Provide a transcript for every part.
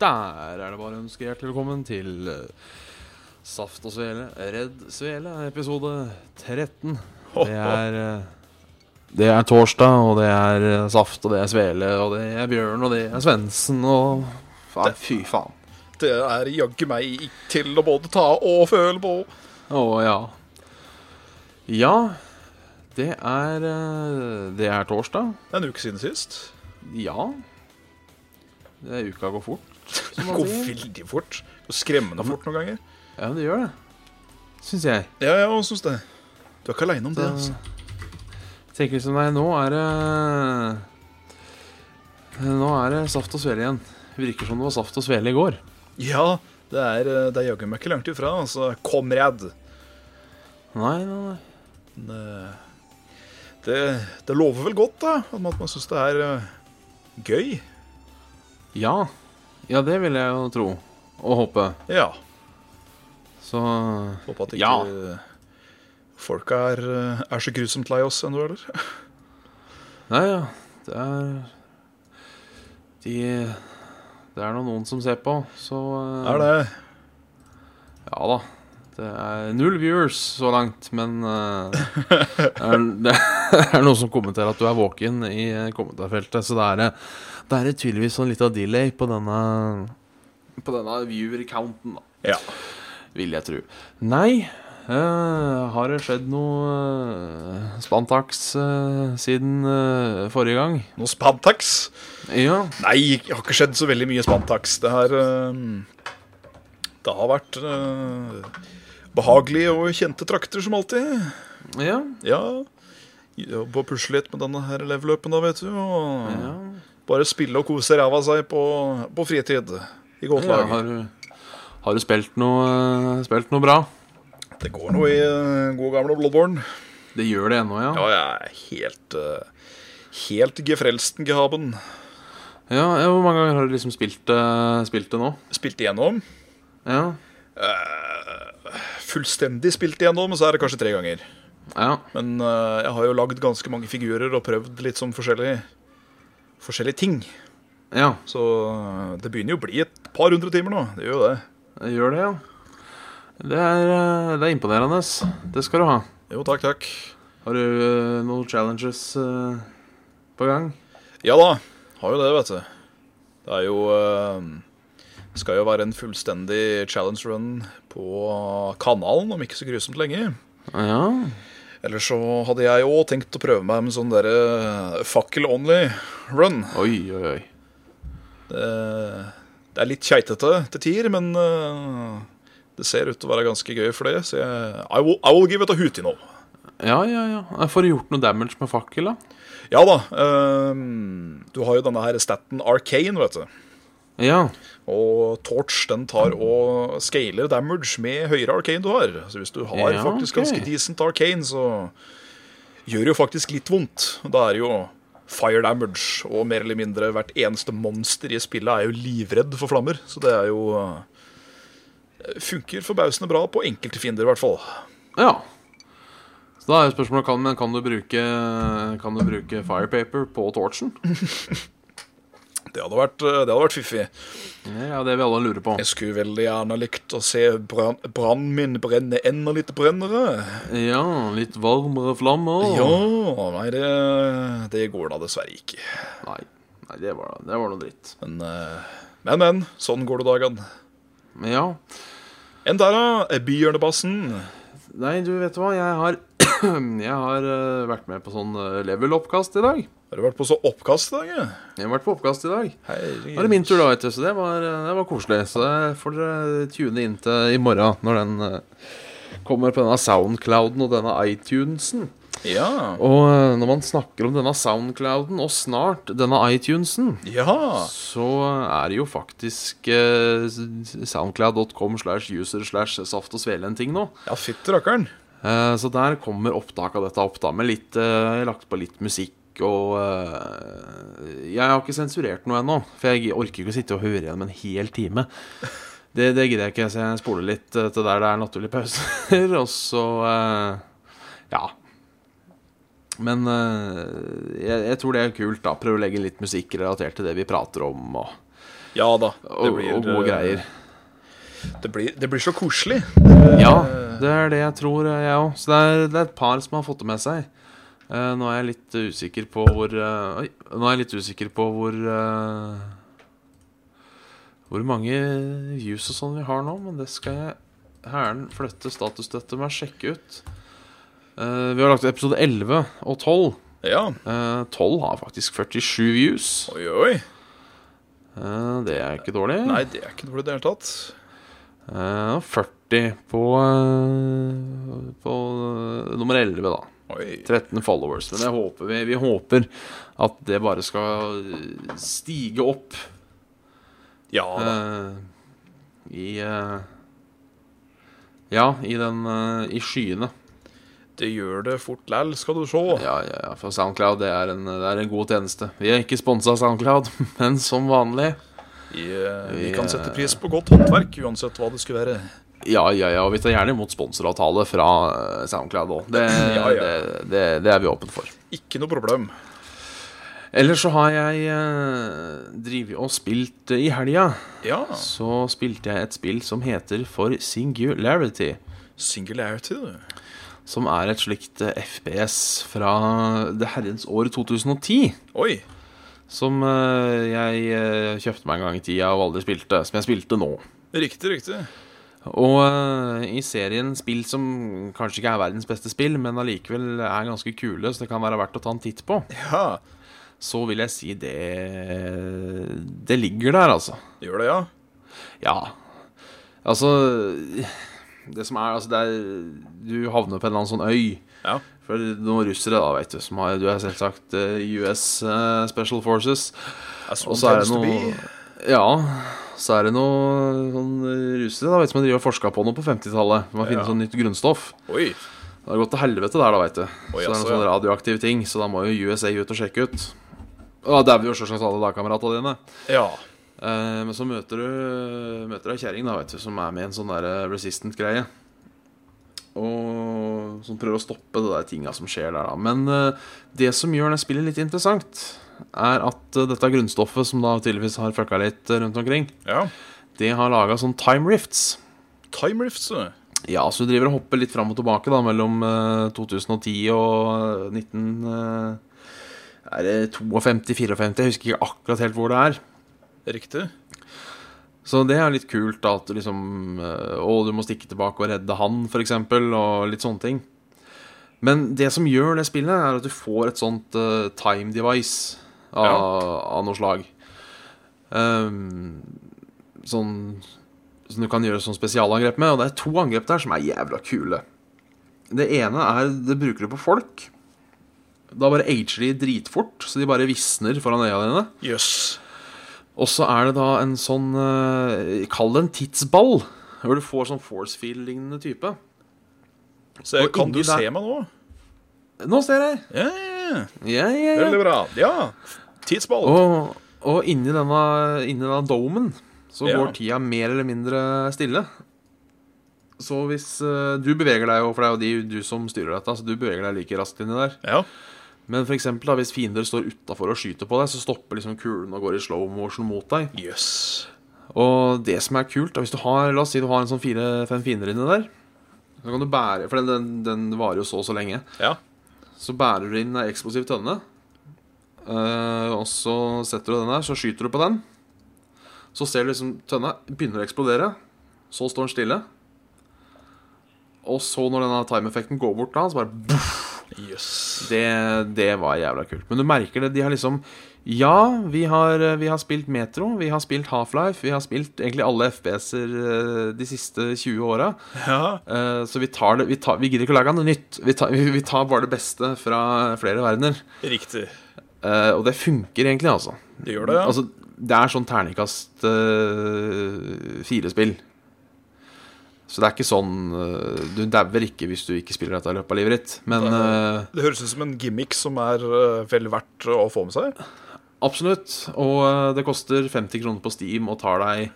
Der er det bare å ønske hjertelig velkommen til eh, Saft og Svele, Redd Svele, episode 13. Det er, eh, det er torsdag, og det er eh, Saft, og det er Svele, og det er Bjørn, og det er Svendsen, og Nei, fy faen. Det er jaggu meg til å både ta og føle på. Å ja. Ja, det er eh, Det er torsdag. Det er en uke siden sist. Ja. Det er uka går fort, Det som man går sier. veldig fort. Og skremmende fort noen ganger. Ja, men det gjør det. Syns jeg. Ja, jeg også syns det. Du er ikke aleine om det. altså. eh, Tenker liksom Nei, nå er det eh, Nå er det saft og svele igjen. Virker som det var saft og svele i går. Ja, det er, eh, det er jaggu meg ikke langt ifra. Altså, kom redd. Nei, nei, nei. Men, eh, Det, det lover vel godt, da. At man, at man syns det er eh, gøy. Ja. Ja, det vil jeg jo tro. Og håpe. Ja. Så Håper at ikke Ja. folka er, eh, er så grusomt lei oss ennå, eller? Nei, ja. Det er De Det er nå noen som ser på, så eh, Er det Ja da. Det er null viewers så langt, men eh, det, er, det er noen som kommenterer at du er våken i kommentarfeltet, så det er, det er tydeligvis sånn liten delay på denne På denne viewer-counten, da, Ja. vil jeg tro. Nei, eh, har det skjedd noe eh, spantaks eh, siden eh, forrige gang? Noe spantax? Ja. Nei, det har ikke skjedd så veldig mye spantax. Det har, eh, det har vært eh, behagelige og kjente trakter, som alltid. Ja. Ja. Jobbe og pusle litt med denne her level-upen, da, vet du. Og ja. bare spille og kose ræva seg på, på fritid. I godt ja lag. har, du, har du spilt noe, eh, spilt noe bra? Det går noe i eh, gode gamle Bloodborne. Det gjør det ennå, Ja, jeg er helt eh, Helt gefrelsten gehaben. Ja, ja, Hvor mange ganger har du liksom spilt, eh, spilt det nå? Spilt igjennom. Ja. Fullstendig spilt igjennom, så er det kanskje tre ganger. ja. Men eh, jeg har jo lagd ganske mange figurer og prøvd litt sånn forskjellige, forskjellige ting. Ja, Så eh, det begynner jo å bli et par hundre timer nå. Det gjør jo det. det gjør det, ja. Det er, eh, det er imponerende. Det skal du ha. Jo, takk, takk. Har du eh, noen challenges eh, på gang? Ja da, har jo det, vet du. Det er jo eh, Skal jo være en fullstendig challenge run på kanalen om ikke så grusomt lenge. Ja. Eller så hadde jeg òg tenkt å prøve meg med sånn derre fakkel only run. Oi, oi, oi. Det, Eh, det er litt keitete til tider, men eh, det ser ut til å være ganske gøy for det. Så jeg I will, I will give it a hooty nå. Ja, ja, ja. Jeg får du gjort noe damage med fakkel, da? Ja da. eh, du har jo denne her staten Arcane, vet du. Ja. Og Torch den tar Mm. og scaler damage med høyere Arcane du har. Så hvis du har Ja, faktisk ok. ganske decent Arcane, så gjør det jo faktisk litt vondt. Da er det jo fire damage, og mer eller mindre hvert eneste monster i spillet er jo livredd for flammer. Så det er jo eh, Funker forbausende bra på enkelte fiender, i hvert fall. Ja. Så da er jo spørsmålet kan, men kan du bruke Kan du bruke firepaper på torchen? Det hadde vært, eh, det hadde vært fiffig. Det er det vi alle lurer på. Jeg skulle veldig gjerne likt å se brann- brannen min brenne enda litt brennere. Ja, litt varmere flammer. Ja, nei, det, det går da dessverre ikke. Nei, nei det, var, det var noe dritt. Men, eh, men, men sånn går det dagen. Men ja. Enn der, da? eh, Byhjørnebassen. Nei, du vet du hva, jeg har, jeg har eh, vært med på sånn eh, level-oppkast i dag. Har du vært på så oppkast i dag? ja? Jeg har vært på oppkast i dag. Herregud. Da er det min tur, da, vet du. Så det var, eh, det var koselig. Så det får dere tune inn til i morgen, når den eh, kommer på denne Soundclouden og denne iTunesen. Ja. Og eh, når man snakker om denne Soundclouden, og snart denne iTunesen, ja. så er det jo faktisk eh, soundcloud.com slash user slash saft og svele en ting nå. Ja, fytti rakkeren. Eh, Så der kommer opptak av dette opp, da, med litt eh, lagt på litt musikk. Og eh, jeg har ikke sensurert noe ennå, for jeg orker ikke å sitte og høre igjen en hel time. Det, det gidder jeg ikke, så jeg spoler litt eh, til der det er naturlige pauser, og så eh, Ja. Men eh, jeg, jeg tror det er kult, da. Prøve å legge litt musikk relatert til det vi prater om, og Ja da. Det og, blir, eh, og gode greier. Det blir, det blir så koselig. Ja, det er det jeg tror, eh, jeg òg. Så det er, det er et par som har fått det med seg. Eh, nå er jeg litt usikker på hvor eh, Oi, nå er jeg litt usikker på hvor eh, Hvor mange views og sånn vi har nå, men det skal jeg hæren flytte statusstøtte med sjekke ut. Eh, vi har lagt ut episode 11 og 12. Ja. Eh, 12 har faktisk 47 views. Oi, oi. Eh, det er ikke dårlig. Nei, det er ikke noe i det hele tatt. Eh, og 40 på, eh, på eh, nummer 11, da. Oi. 13 followers. Men det håper vi. Vi håper at det bare skal eh, stige opp Ja da. eh, i eh, Ja, i den eh, I skyene. Det gjør det fort læll, skal du se. Ja, ja, ja, for Soundcloud det er, en, det er en god tjeneste. Vi er ikke sponsa av Soundcloud, men som vanlig. Vi, eh, vi Vi, kan eh, sette pris på godt håndverk, uansett hva det skulle være. Ja, ja, ja. og Vi tar gjerne imot sponsoravtale fra eh, Soundcloud òg. Det, Ja, ja. det, det, det er vi åpne for. Ikke noe problem. Ellers så har jeg eh, drevet og spilt eh, i helga. Ja. Så spilte jeg et spill som heter For Singularity. Singularity, du. Som er et slikt eh, FPS fra det herrens år 2010. Oi. Som eh, jeg eh, kjøpte meg en gang i tida og aldri spilte. Som jeg spilte nå. Riktig, riktig. Og eh, i serien spill som kanskje ikke er verdens beste spill, men allikevel er ganske kule, så det kan være verdt å ta en titt på, Ja. så vil jeg si det Det ligger der, altså. Gjør det, ja. Ja. Altså Det som er, altså det er Du havner på en eller annen sånn øy. Ja. For noen russere, da, vet du. Som har, du er selvsagt eh, US eh, Special Forces. As Og one så er det tends to noe be. Ja. Så er det noen sånn russere da, vet du, som har drevet og forska på noe på 50-tallet. Man finner Ja. sånn nytt grunnstoff. Oi. Det har gått til helvete der, da, veit du. så det er jaså, noen sånne ja. radioaktive ting, så da må jo USA ut og sjekke ut. Og da dauer jo sjølsagt alle lagkameratene dine. Ja. Eh, men så møter du Møter ei kjerring da, vet du, som er med i en sånn der eh, resistant-greie. Og som prøver å stoppe det der tinga som skjer der, da. Men eh, det som gjør det spillet litt interessant, er at eh, dette grunnstoffet, som da tydeligvis har fucka litt eh, rundt omkring, ja. det har laga sånn time rifts. Time rifts, du. Ja, så du driver og hopper litt fram og tilbake da, mellom eh, 2010 og eh, 19... eh, er det 52-54? Jeg husker ikke akkurat helt hvor det er. Riktig. Så det er litt kult da, at du liksom eh, Å, du må stikke tilbake og redde han, for eksempel, og litt sånne ting. Men det som gjør det spillet, er at du får et sånt eh, time device av, av noe slag. Ehm, sånn som du kan gjøre sånn spesialangrep med. Og det er to angrep der som er jævla kule. Det ene er det bruker du på folk. Da bare ager de dritfort, så de bare visner foran øya dine. Jøss. Og så er det da en sånn eh, Kall det en tidsball. Hvor du får sånn force field-lignende type. Yes. Så Og kan du inni der- se meg nå? Nå ser jeg! Ja, ja, ja. Ja, ja, ja. Veldig bra. Ja. Tidsball. Og, og inni denne, inni denne domen så Ja. går tida mer eller mindre stille. Så hvis eh, Du beveger deg jo, for det er jo de, du som styrer dette, så du beveger deg like raskt inni der. Ja. Men for eksempel, da, hvis fiender står utafor og skyter på deg, så stopper liksom kulen og går i slow motion mot deg. Jøss. Og det som er kult, da, hvis du har La oss si du har en sånn fire-fem fiender inni der. Så kan du bære For den, den, den varer jo så og så lenge. Ja. Så bærer du inn ei eksplosiv tønne. eh, og så setter du den der, så skyter du på den. Så ser du liksom tønna begynner å eksplodere. Så står den stille. Og så, når denne time-effekten går bort, da, så bare Jøss. det, det var jævla kult. Men du merker det. De har liksom Ja, vi har, vi har spilt Metro, vi har spilt Half-Life, vi har spilt egentlig alle FPS-er eh, de siste 20 åra. Ja. Eh, Så vi tar det Vi, tar, vi gidder ikke å lage noe nytt. Vi tar, vi tar bare det beste fra flere verdener. Riktig. Eh, Og det funker egentlig, altså. Det gjør det, ja. Altså, det er sånn terningkast uh, fire-spill. Så det er ikke sånn eh, Du dauer ikke hvis du ikke spiller dette i løpet av livet ditt. Men eh, det høres ut som en gimmick som er eh, vel verdt å få med seg. Absolutt. Og eh, det koster 50 kroner på Steam og tar deg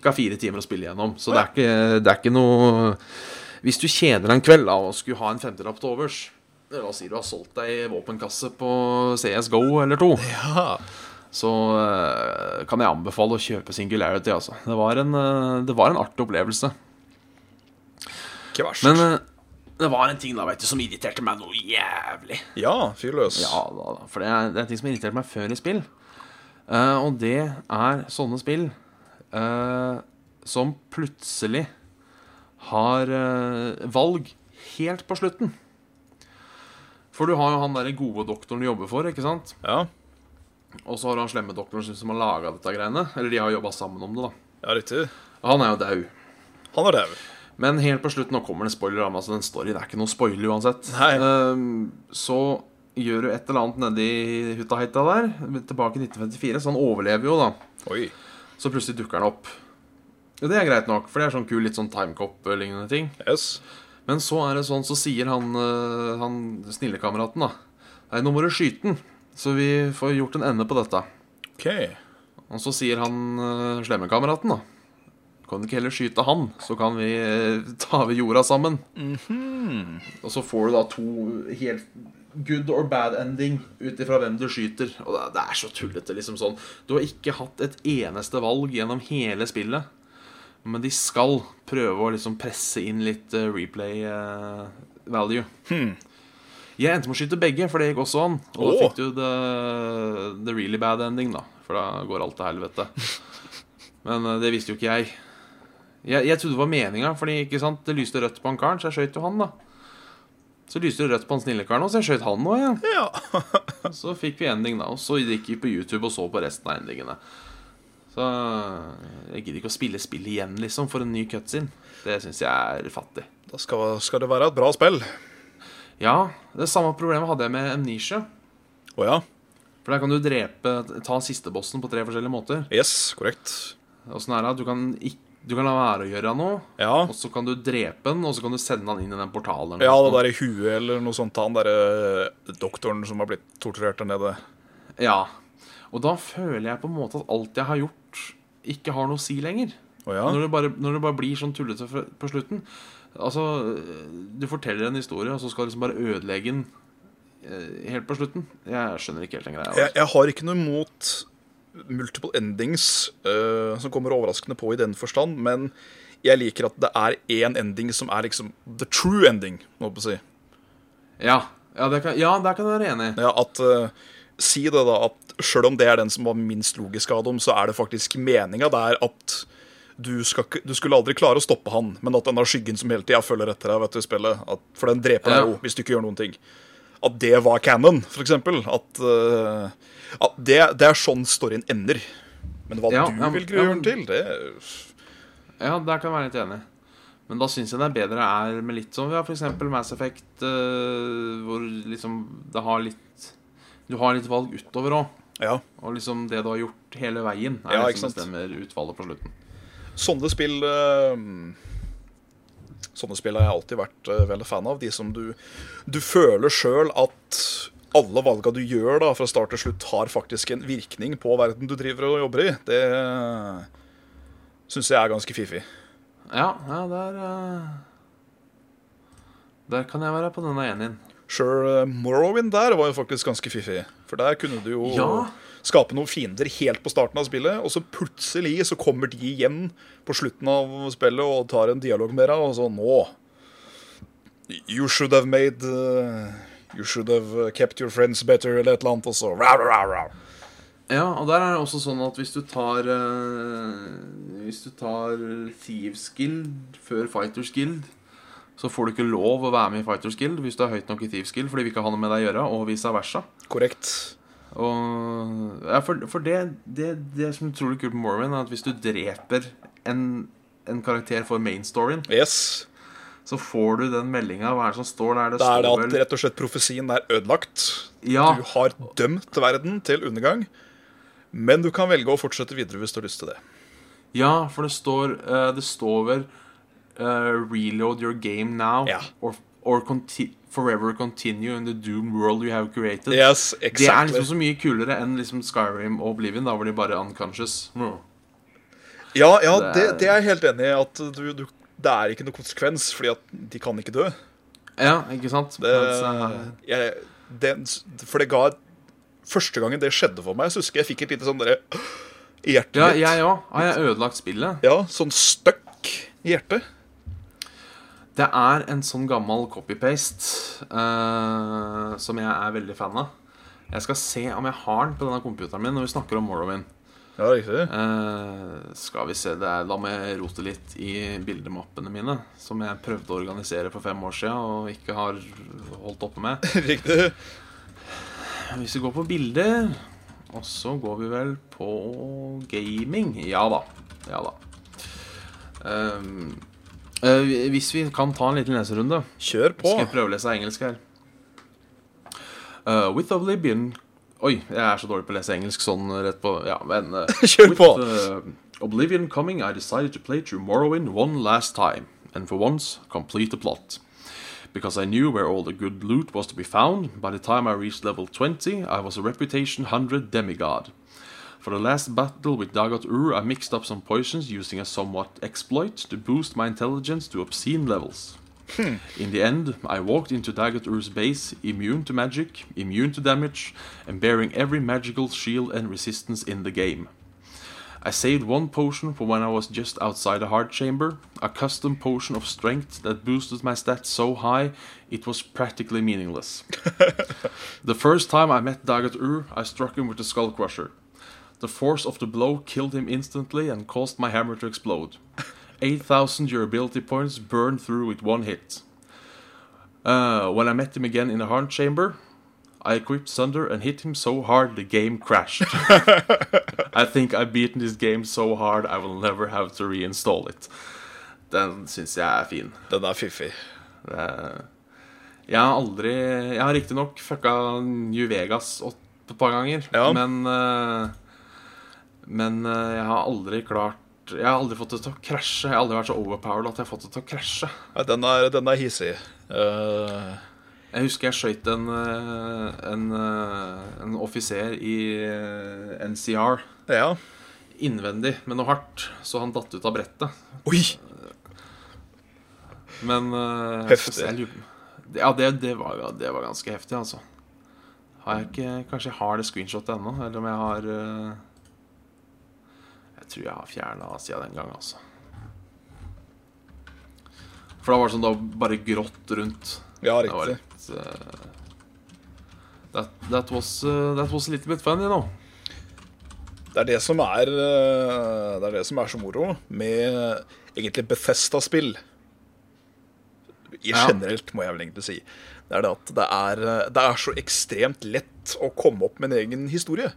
ca. fire timer å spille gjennom. Så det er ikke, det er ikke noe Hvis du kjeder deg en kveld da, og skulle ha en femtilapp til overs eh, La oss si du har solgt deg våpenkasse på CS GO eller to. Ja. så eh, kan jeg anbefale å kjøpe Singularity, altså. Det var en, eh, det var en artig opplevelse. Ikke verst. Men eh, det var en ting da, vet du, som irriterte meg noe jævlig. ja, fyr løs. Ja da, da. For det er, det er ting som har irritert meg før i spill. Eh, og det er sånne spill eh, som plutselig har eh, valg helt på slutten. For du har jo han derre gode doktoren du jobber for, ikke sant? Ja. Og så har du han slemme doktoren som- som har laga dette greiene. Eller de har jobba sammen om det, da. ja, riktig. Han er jo daud. Han er dau. Men helt på slutten, nå kommer det en spoiler, altså den storyen er ikke noe spoiler uansett. Nei. Ehm, så gjør du et eller annet nedi hutaheita der, tilbake i 1954, så han overlever jo, da. Oi. Så plutselig dukker han opp. Og det er greit nok, for det er sånn kul, litt sånn timecop-lignende ting. Yes. Men så er det sånn, så sier han, eh, han snillekameraten, da Nei, nå må du skyte den, så vi får gjort en ende på dette. OK. Og så sier han eh, slemmekameraten, da Kan du ikke heller skyte han, så kan vi eh, ta over jorda sammen. Og så får du da to helt good or bad ending ut ifra hvem du skyter. Og det, det er så tullete, liksom sånn. Du har ikke hatt et eneste valg gjennom hele spillet. Men de skal prøve å liksom presse inn litt eh, replay eh, value. Jeg endte med å skyte begge, for det gikk også an. Og da Åh. fikk du the, the really bad ending, da. For da går alt til helvete. Men eh, det visste jo ikke jeg. Jeg, jeg trodde det var meninga, Fordi, ikke sant, det lyste rødt på han karen, så jeg skjøt jo han, da. Så lyste det rødt på han snille karen, også, så jeg skjøt han òg, ja. Ja. Så fikk vi ending, da. Og så gikk vi på YouTube og så på resten av endingene. Så eh, jeg gidder ikke å spille spill igjen, liksom, for en ny cutscene. Det syns jeg er fattig. Da skal, skal det være et bra spill. Ja, det samme problemet hadde jeg med Amnesia. Å ja. For der kan du drepe Ta sistebossen på tre forskjellige måter. Yes, korrekt. Åssen er det? at Du kan, ikk- du kan la være å gjøre noe, Ja. og så kan du drepe den, og så kan du sende han inn i den portalen. Ja, det eller noe der i huet eller noe sånt. Han derre eh, doktoren som har blitt torturert der nede. sånt. Ja. Og da føler jeg på en måte at alt jeg har gjort, ikke har noe å si lenger. Å ja. Når, det bare, når det bare blir sånn tullete fra- på slutten. Altså, du forteller en historie, og så skal du liksom bare ødelegge den eh, helt på slutten. Jeg skjønner ikke helt den greia. Jeg, jeg har ikke noe imot multiple endings eh, som kommer overraskende på i den forstand, men jeg liker at det er én ending som er liksom the true ending, må jeg si. Ja, ja, det kan, ja, der kan jeg være enig. Ja, at eh, Si det, da, at sjøl om det er den som var minst logisk av dem, så er det faktisk meninga der at du, skal, ikke- du skulle aldri klare å stoppe han, men at den har skyggen som hele tida følger etter deg, vet du, i spillet. At, for den dreper Ja. deg jo, hvis du ikke gjør noen ting. At det var canon, for eksempel. At, eh, at det, det er sånn storyen ender. Men hva Ja, du ja, men- vil ja, gjøre men- den til, det Ja, der kan jeg være litt enig. Men da syns jeg det er bedre er med litt sånn Vi har f.eks. Mass Effect, eh, hvor liksom det har litt Du har litt valg utover òg. Ja. Og liksom det du har gjort hele veien, er Ja, det ikke som sant. bestemmer utfallet på slutten. Sånne spill eh, Sånne spill har jeg alltid vært eh, veldig fan av. De som du, du føler sjøl at alle valga du gjør da, fra start til slutt, har faktisk en virkning på verden du driver og jobber i. Det syns jeg er ganske fiffig. Ja, ja, der eh, Der kan jeg være på denne enien. Sjøl eh, Morrowind der var jo faktisk ganske fiffig. For der kunne du jo Ja. skape noen fiender helt på starten av spillet, og så plutselig så kommer de igjen på slutten av spillet og tar en dialog med deg, og så nå You should have made eh, You should have kept your friends better, eller et eller annet, og så rau, rau, rau, rau. Ja, og der er det også sånn at hvis du tar eh, Hvis du tar Thieves Guild før Fighters Guild, så får du ikke lov å være med i Fighters Guild hvis du er høyt nok i Thieves Guild, fordi vi ikke har noe med deg å gjøre, og vice versa. Korrekt. Og, ja, for for det, det, det som er utrolig kult med Morrowind, er at hvis du dreper en, en karakter for main storyen, Yes. så får du den meldinga. Hva er det som står der? Det Da er det står at rett og slett profesien er ødelagt. ja, Du har dømt verden til undergang, men du kan velge å fortsette videre hvis du har lyst til det. ja, for det står eh, Det står vel eh, 'Reload your game now' Ja. or, or conti forever continue in the doom world you have created. Yes, Det er exactly. liksom så mye kulere enn liksom Skyrim og Oblivion, da, hvor de bare er unconscious. Mm. Ja, ja sånn- Det det, er- det er jeg helt enig i. At du, du, det er ikke noe konsekvens, fordi at de kan ikke dø. Ja, ikke sant? Det, Mens, eh, jeg, det, for det ga Første gangen det skjedde for meg, så husker jeg jeg fikk et lite sånn derre i hjertet Ja, mitt. jeg òg. Har jeg ødelagt spillet? Ja, sånn støkk i hjertet. Det er en sånn gammel copy-paste eh, som jeg er veldig fan av. Jeg skal se om jeg har den på denne computeren min når vi snakker om Morrowind. Ja, riktig. Eh, skal vi se det er, La meg rote litt i bildemappene mine, som jeg prøvde å organisere for fem år siden og ikke har holdt oppe med. riktig. Hvis vi går på bilder, og så går vi vel på gaming. Ja da. Ja da. Ehm, eh, hvis vi kan ta en liten leserunde Kjør på. Skal jeg prøve å lese engelsk her? Uh, with Oblivion Oi, jeg er så dårlig på å lese engelsk sånn rett på Ja, men uh, Kjør with, på. uh, Oblivion coming, I decided to play through Morrowind one last time. And for once, complete the plot. Because I knew where all the good loot was to be found, by the time I reached level 20, I was a reputation 100 demigod. For the last battle with Dagot Ur, I mixed up some poisons using a somewhat exploit to boost my intelligence to obscene levels. In the end, I walked into Dagot Ur's base, immune to magic, immune to damage, and bearing every magical shield and resistance in the game. I saved one potion for when I was just outside the heart chamber, a custom potion of strength that boosted my stats so high it was practically meaningless. the first time I met Dagot Ur, I struck him with the skull crusher. The force of the blow killed him instantly and caused my hammer to explode. 8000 durability points burned through with one hit. Uh, when I met him again in the heart chamber, I equipped Sunder and hit him so hard the game crashed. I think I've beaten this game so hard I will never have to reinstall it. Den syns jeg er fin. Den er fiffig. Det- Jeg har aldri Jeg har riktignok fucka New Vegas opp et par ganger, Ja. men eh, Men eh, jeg har aldri klart Jeg har aldri fått det til å krasje. Jeg har aldri vært så overpowered at jeg har fått det til å krasje. Ja, den, er, den er hissig. Eh, Jeg husker jeg skøyt en, eh, en, eh, en offiser i eh, NCR ja. innvendig med noe hardt, så han datt ut av brettet. Oi! Men eh, Heftig. skal jeg lurer- Ja, det, det, var, det var ganske heftig, altså. Har jeg ikke, kanskje jeg har det screenshotet ennå, eller om jeg har eh, Jeg tror jeg har fjerna siden den gang, altså. For da var det sånn, da bare grått rundt. Ja, Det var riktig. litt eh, that, that, was, eh, that was a little bit fun, you know. Det er det som er eh, Det er det som er så moro med egentlig Bethesda-spill. I Ja. generelt, må jeg vel egentlig si. Det er det at det er, eh, det er så ekstremt lett å komme opp med en egen historie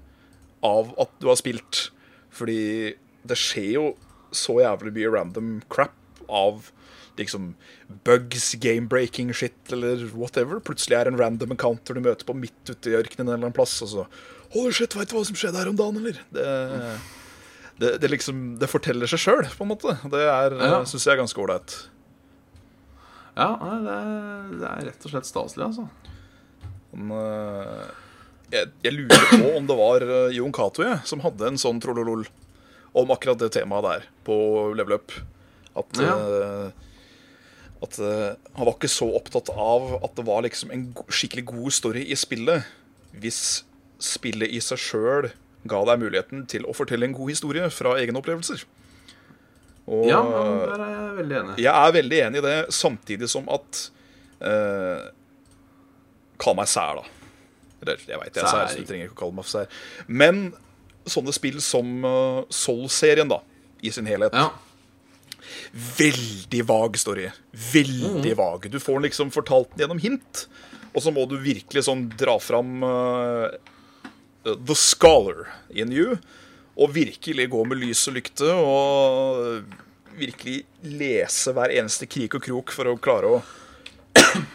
av at du har spilt. Fordi det skjer jo så jævlig mye random crap av liksom bugs, game-breaking shit eller whatever. Plutselig er det en random encounter du møter på midt ute i ørkenen en eller annen plass, og så Holy shit, veit du hva som skjedde her om dagen, eller? Det, det, det liksom Det forteller seg sjøl, på en måte. Det er, Ja. syns jeg er ganske ålreit. Ja, nei, det, er, det er rett og slett staselig, altså. Men, eh, Jeg, jeg lurer på om det var eh, Jon Cato jeg, som hadde en sånn trollolol om akkurat det temaet der på Level Up. At, Ja. eh, at eh, han var ikke så opptatt av at det var liksom en go skikkelig god story i spillet, hvis spillet i seg sjøl ga deg muligheten til å fortelle en god historie fra egne opplevelser. Og, Ja, men der er jeg veldig enig. Jeg er veldig enig i det, samtidig som at eh, Kall meg sær, da. Eller jeg veit jeg er sær, så Særing. du trenger ikke å kalle meg for sær. Men sånne spill som eh, Soul-serien, da, i sin helhet. Ja. Veldig vag story. Veldig vag. Du får den liksom fortalt den gjennom hint, og så må du virkelig sånn dra fram eh, The Scholar in you, og virkelig gå med lys og lykte og virkelig lese hver eneste krik og krok for å klare å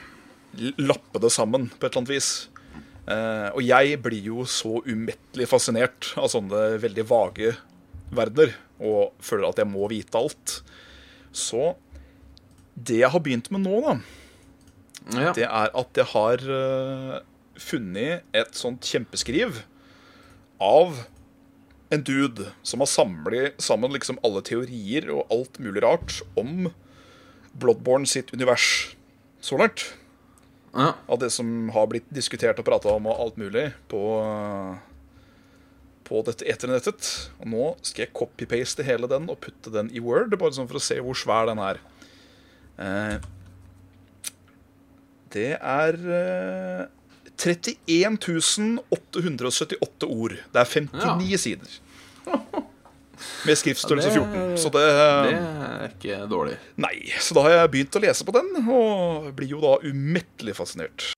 lappe det sammen på et eller annet vis. Eh, og jeg blir jo så umettelig fascinert av sånne veldig vage verdener, og føler at jeg må vite alt. Så det jeg har begynt med nå, da, ja. det er at jeg har eh, funnet et sånt kjempeskriv av en dude som har samlet sammen liksom alle teorier og alt mulig rart om Bloodborne sitt univers så langt. Ja. av det som har blitt diskutert og prata om og alt mulig på, på dette eternettet. Og nå skal jeg copy-paste hele den og putte den i Word, bare sånn for å se hvor svær den er. Eh, Det er eh, 31 878 ord. Det er 59 sider. Med skriftstørrelse Ja, det- 14. Så det, Det er ikke dårlig. Nei, så da har jeg begynt å lese på den, og blir jo da umettelig fascinert.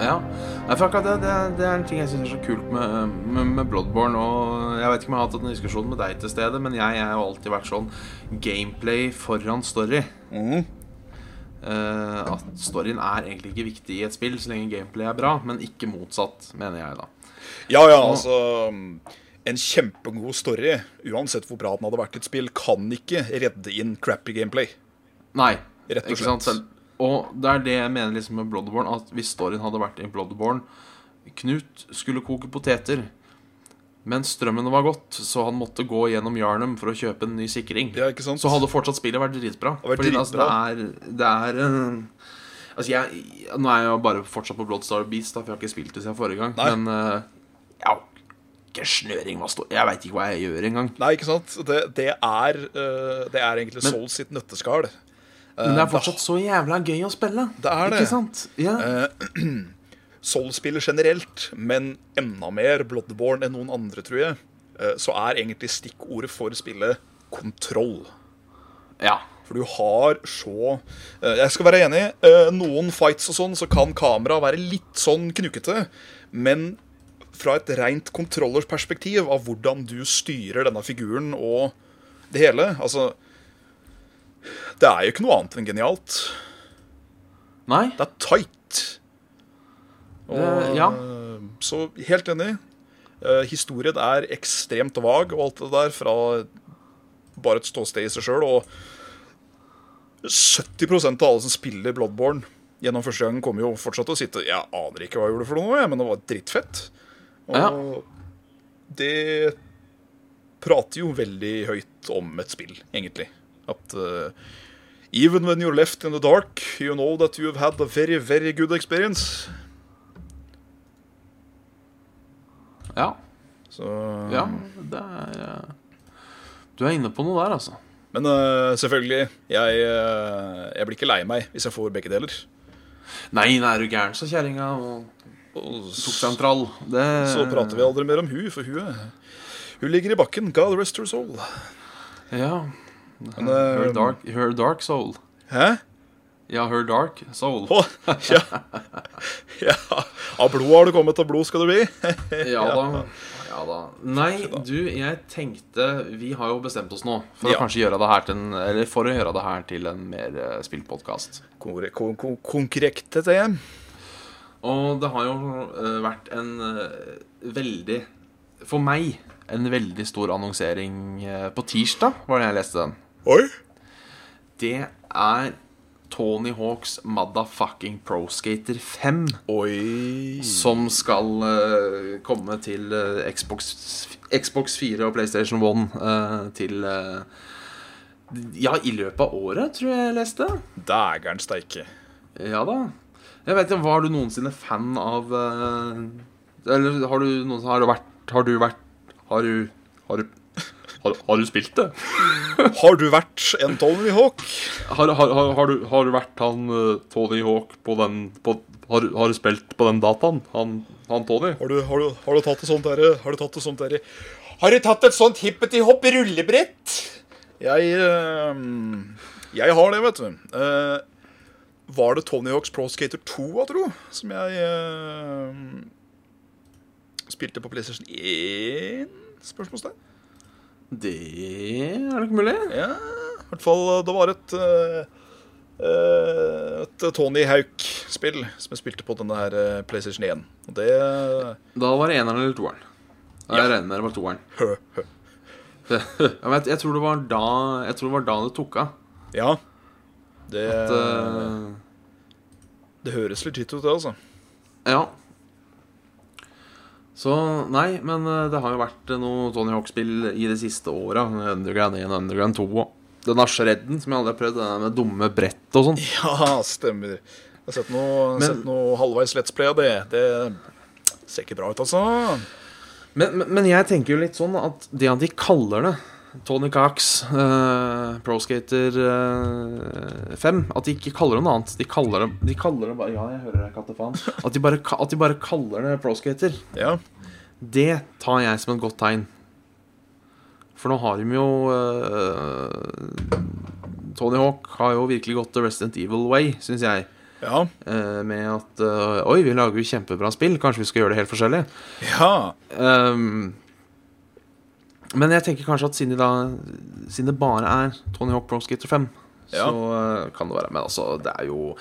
Ja. Nei, for akkurat det, det, det er en ting jeg syns er så kult med, med, med Bloodborne. Og jeg vet ikke om jeg har hatt en diskusjon med deg til stede, men jeg, jeg har jo alltid vært sånn gameplay foran story. Eh, at storyen er egentlig ikke viktig i et spill så lenge gameplay er bra, men ikke motsatt, mener jeg da. Ja, ja, altså En kjempegod story, uansett hvor bra den hadde vært i et spill, kan ikke redde inn crappy gameplay. Nei. Rett og ikke sant? slett. Selv- Og det er det jeg mener liksom med Bloodborne, at hvis storyen hadde vært i Bloodborne Knut skulle koke poteter, men strømmen var gått, så han måtte gå gjennom Jarnum for å kjøpe en ny sikring. Ja, ikke sant? Så hadde fortsatt spillet vært dritbra. Det hadde vært Fordi Altså, det er, det er eh, Altså, jeg, nå er jeg jo bare fortsatt på Bloodstar Beast, da, for jeg har ikke spilt det siden forrige gang. Nei. Men eh, jeg har ikke snøring hva står Jeg veit ikke hva jeg gjør engang. Nei, ikke sant? Det, det, er, eh, det er egentlig Men- Souls sitt nøtteskall. Men det er fortsatt så jævla gøy å spille. Eh, Det er det. Eh, Ikke sant? Ja. Soul-spillet generelt, men enda mer Bloodborne enn noen andre, tror jeg, eh, så er egentlig stikkordet for spillet kontroll. ja. For du har så eh, Jeg skal være enig. eh, Noen fights og sånn, så kan kameraet være litt sånn knukete. Men fra et rent kontrollersperspektiv av hvordan du styrer denne figuren og det hele Altså Det er jo ikke noe annet enn genialt. Nei? Det er tight. Det- ja. eh, Så helt enig. Eh, Historien er ekstremt vag og alt det der fra bare et ståsted i seg sjøl. Og 70 av alle som spiller Bloodborne gjennom første gangen, kommer jo fortsatt til å sitte Jeg aner ikke hva jeg gjorde for noe, jeg, men det var drittfett. Og Ja. det prater jo veldig høyt om et spill, egentlig. At eh, Even when you're left in the dark, you know that you've had a very, very good experience. Ja. Så, ja. Det er eh, Du er inne på noe der, altså. Men eh, selvfølgelig, jeg, eh, jeg blir ikke lei meg hvis jeg får begge deler. Nei, nei, er du gæren, sa kjerringa og Og tok s- seg en trall. Det så prater vi aldri mer om hun, for hun, er- hun ligger i bakken. God rest her soul. Ja. Men, Her eh, dark, her dark soul. Hæ? Ja, her dark soul. Å, ja. ja. Av blod har du kommet, av blod skal du bli. Ja da. Ja da. Nei, du, jeg tenkte Vi har jo bestemt oss nå for Ja. å kanskje gjøre det her til en Eller for å gjøre det her til en mer eh, spilt podkast. Korre- kon- kon- Konkrekte, sier jeg. Og det har jo eh, vært en eh, veldig For meg en veldig stor annonsering eh, på tirsdag, var det jeg leste den. Oi! Det er Tony Hawks Motherfucking Pro Skater 5 Oi. som skal eh, komme til eh, Xbox, Xbox 4 og PlayStation 1 eh, til eh, Ja, i løpet av året, tror jeg jeg leste. Dægeren steike. Ja da. Jeg vet ikke, Var du noensinne fan av eh, Eller har du noen Har du vært Har du vært Har du Har du, har, har du spilt det? Har du vært en Tony Hawk? Har, har, har, har, du, har du vært han eh, Tony Hawk på den på, har, du- har du spilt på den dataen? Han, han Tony? Har du, har du, har du tatt et sånt derre Har du tatt et sånt derre Har du tatt et sånt hippetihopp rullebrett? Jeg ehm, Jeg har det, vet du. Eh, var det Tony Hawks Pro Skater 2, jeg tro, som jeg ehm, spilte på PlayStation 1? Spørsmålstegn. Det er nok mulig. Ja, i hvert fall det var et eh, eh, et Tony Hauk-spill som jeg spilte på denne her eh, PlayStation 1. Og det eh, Da var det eneren eller toeren. Ja. Jeg regner med det var toeren. hø, hø. ja, men jeg, jeg, tror det var da, jeg tror det var da det tok av. Ja. Det, At, eh, det høres legit ut, det, altså. Ja. Så nei, men eh, det har jo vært eh, noe Tony Hawk-spill i de siste åra. Underground 1 og Underground 2 og den nasjeredden som jeg aldri har prøvd, den med dumme brett og sånn. Ja, stemmer. Jeg har sett noe, Men- sett noe halvveis Let's Play av det. Det ser ikke bra ut, altså. Men, men, men jeg tenker jo litt sånn at det at de kaller det Tony Cox, eh, Pro Skater eh, 5 At de ikke kaller det noe annet. De kaller det, de kaller det bare Ja, jeg hører deg, kattefaen. At de, bare, ka- at de bare kaller det Pro Skater, Ja. det tar jeg som et godt tegn. For nå har de jo eh, Tony Hawk har jo virkelig gått the Resident Evil way, syns jeg. Ja. Eh, med at eh, Oi, vi lager jo kjempebra spill. Kanskje vi skal gjøre det helt forskjellig? ja. Ehm, men jeg tenker kanskje at siden, de da, siden det bare er Tony Hawk Pro Skater 5, Ja. så eh, kan det være. Men altså, det er jo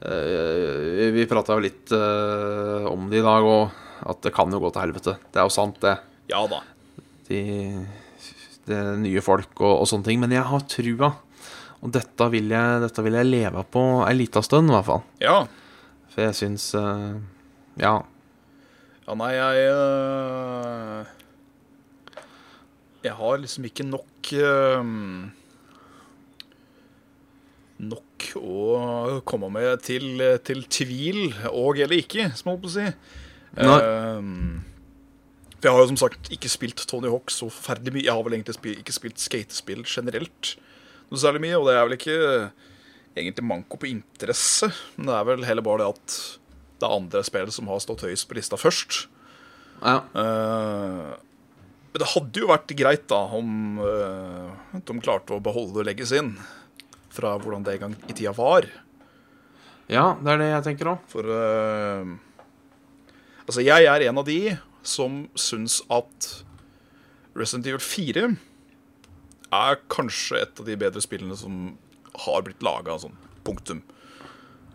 eh, Vi prata jo litt eh, om det i dag òg, at det kan jo gå til helvete. Det er jo sant, det. Ja da. De, det er nye folk og, og sånne ting. Men jeg har trua. Og dette vil jeg, dette vil jeg leve på ei lita stund, i hvert fall. Ja. For jeg syns eh, Ja. Ja, nei, jeg øh, Jeg har liksom ikke nok øh, Nok å komme med til, til tvil og eller ikke, som jeg holdt på å si. Nei. Ehm, for jeg har jo som sagt ikke spilt Tony Hawk så forferdelig mye. Jeg har vel egentlig spi- ikke spilt skatespill generelt noe særlig mye, og det er vel ikke egentlig manko på interesse, men det er vel heller bare det at det er andre spill som har stått høyest på lista først. ja. Eh, Men det hadde jo vært greit da om eh, at de klarte å beholde og legge sin fra hvordan det en gang i tida var. Ja, det er det jeg tenker òg. For eh, Altså, jeg er en av de som syns at Resident Evil 4 er kanskje et av de bedre spillene som har blitt laga. Sånn, punktum.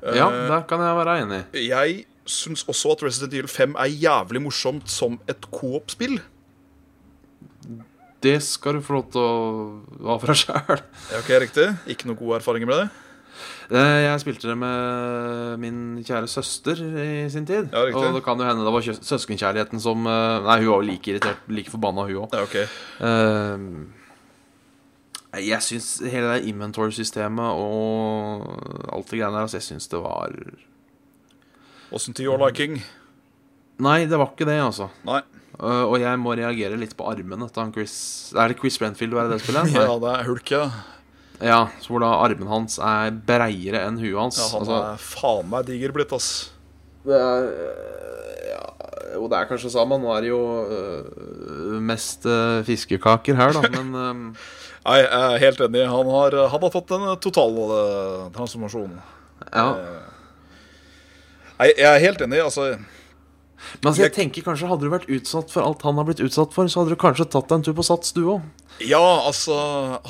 Ja, Eh. der kan jeg være enig. Jeg syns også at Resident Evil 5 er jævlig morsomt som et coop-spill. Det skal du få lov til å ha for deg sjøl. Er ok, riktig? Ikke noen gode erfaringer med det? Eh, Jeg spilte det med min kjære søster i sin tid. Ja, riktig. og det kan jo hende det var kjø- søskenkjærligheten som eh, Nei, hun var jo like irritert, like forbanna, hun òg. Ja, ok. Ehm, jeg syns hele det inventory-systemet og alt det greiene der altså, Jeg syns det var Åssen til your liking? Nei, det var ikke det, altså. Nei. Eh, og jeg må reagere litt på armene til han Chris Er det Chris Brenfield du er i det spillet? Nei. Ja, det er hulk, ja. Ja, så hvor da armen hans er breiere enn huet hans. ja han altså, er faen meg diger blitt, ass. det er øh, ja, Jo, det er kanskje sammen. Nå er det jo øh, mest øh, fiskekaker her, da. Men ehm, øhm, Nei, jeg er helt enig. Han har, han har fått en total eh, transformasjon. ja. Nei, jeg er helt enig. Altså, Men altså, jeg tenker kanskje hadde du vært utsatt for alt han har blitt utsatt for, så hadde du kanskje tatt deg en tur på Sats, du òg. ja, altså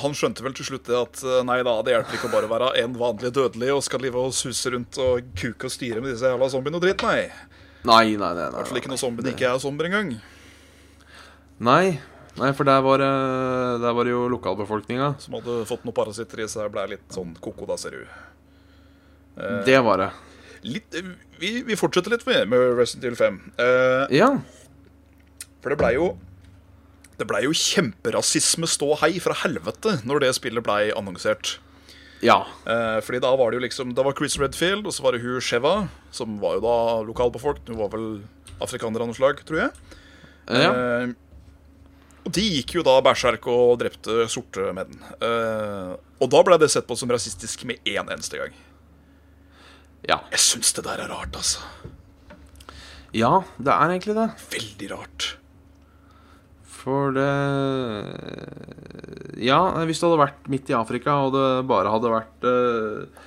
Han skjønte vel til slutt det at eh, nei da, det hjelper ikke å bare være en vanlig dødelig og skal drive og suse rundt og kuke og styre med disse jævla zombiene og dritt, nei. I Nei, nei, nei. hvert fall nei, ikke når zombiene ikke er zombier engang. nei. nei. Nei, for der var, det- der var det jo lokalbefolkninga. Som hadde fått noen parasitter i seg og ble litt sånn koko, da, ser du. Det var det. Litt, eh, vi, vi fortsetter litt med, med Resident Evil 5. Eh, Ja. for det blei jo Det blei jo kjemperasisme stå hei fra helvete når det spillet blei annonsert. Ja. Eh, fordi da var det jo liksom Da var Chris Redfield, og så var det hun Sheva, som var jo da lokalbefolkning. Hun var vel afrikaner av noe slag, tror jeg. ja. Eh, og de gikk jo da berserk og drepte sorte menn. Eh, og da blei det sett på som rasistisk med én eneste gang. ja. Jeg syns det der er rart, altså. Ja, det er egentlig det. Veldig rart. For det Ja, hvis det hadde vært midt i Afrika, og det bare hadde vært eh,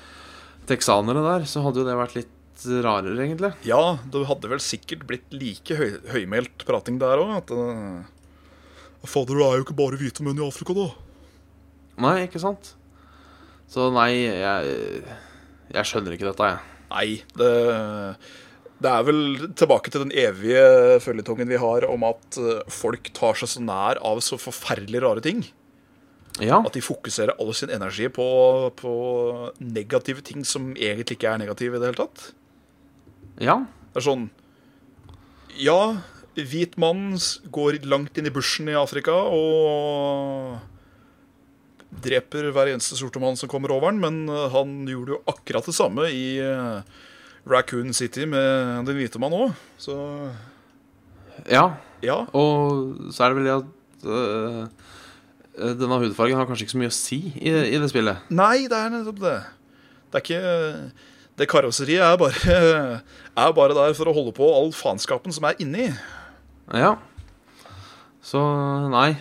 texanere der, så hadde jo det vært litt rarere, egentlig. Ja, det hadde vel sikkert blitt like høy, høymælt prating der òg. At uh, Fader, det er jo ikke bare hvite menn i Afrika, da. Nei, ikke sant? Så nei, jeg, jeg skjønner ikke dette, jeg. Nei, det, det er vel tilbake til den evige føljetongen vi har om at eh, folk tar seg så nær av så forferdelig rare ting. Ja, At de fokuserer all sin energi på, på negative ting som egentlig ikke er negative i det hele tatt. ja, Det er sånn Ja, hvit mann s- går langt inn i bushen i Afrika og dreper hver eneste sorte mann som kommer over han, men eh, han gjorde jo akkurat det samme i eh, Raccoon City med den hvite mann òg. Så ja. ja. Og så er det vel det at eh, denne hudfargen har kanskje ikke så mye å si i, i det spillet. Nei, det er nettopp det. Det er ikke Det karosseriet er bare, er bare der for å holde på all faenskapen som er inni. Ja. Så nei.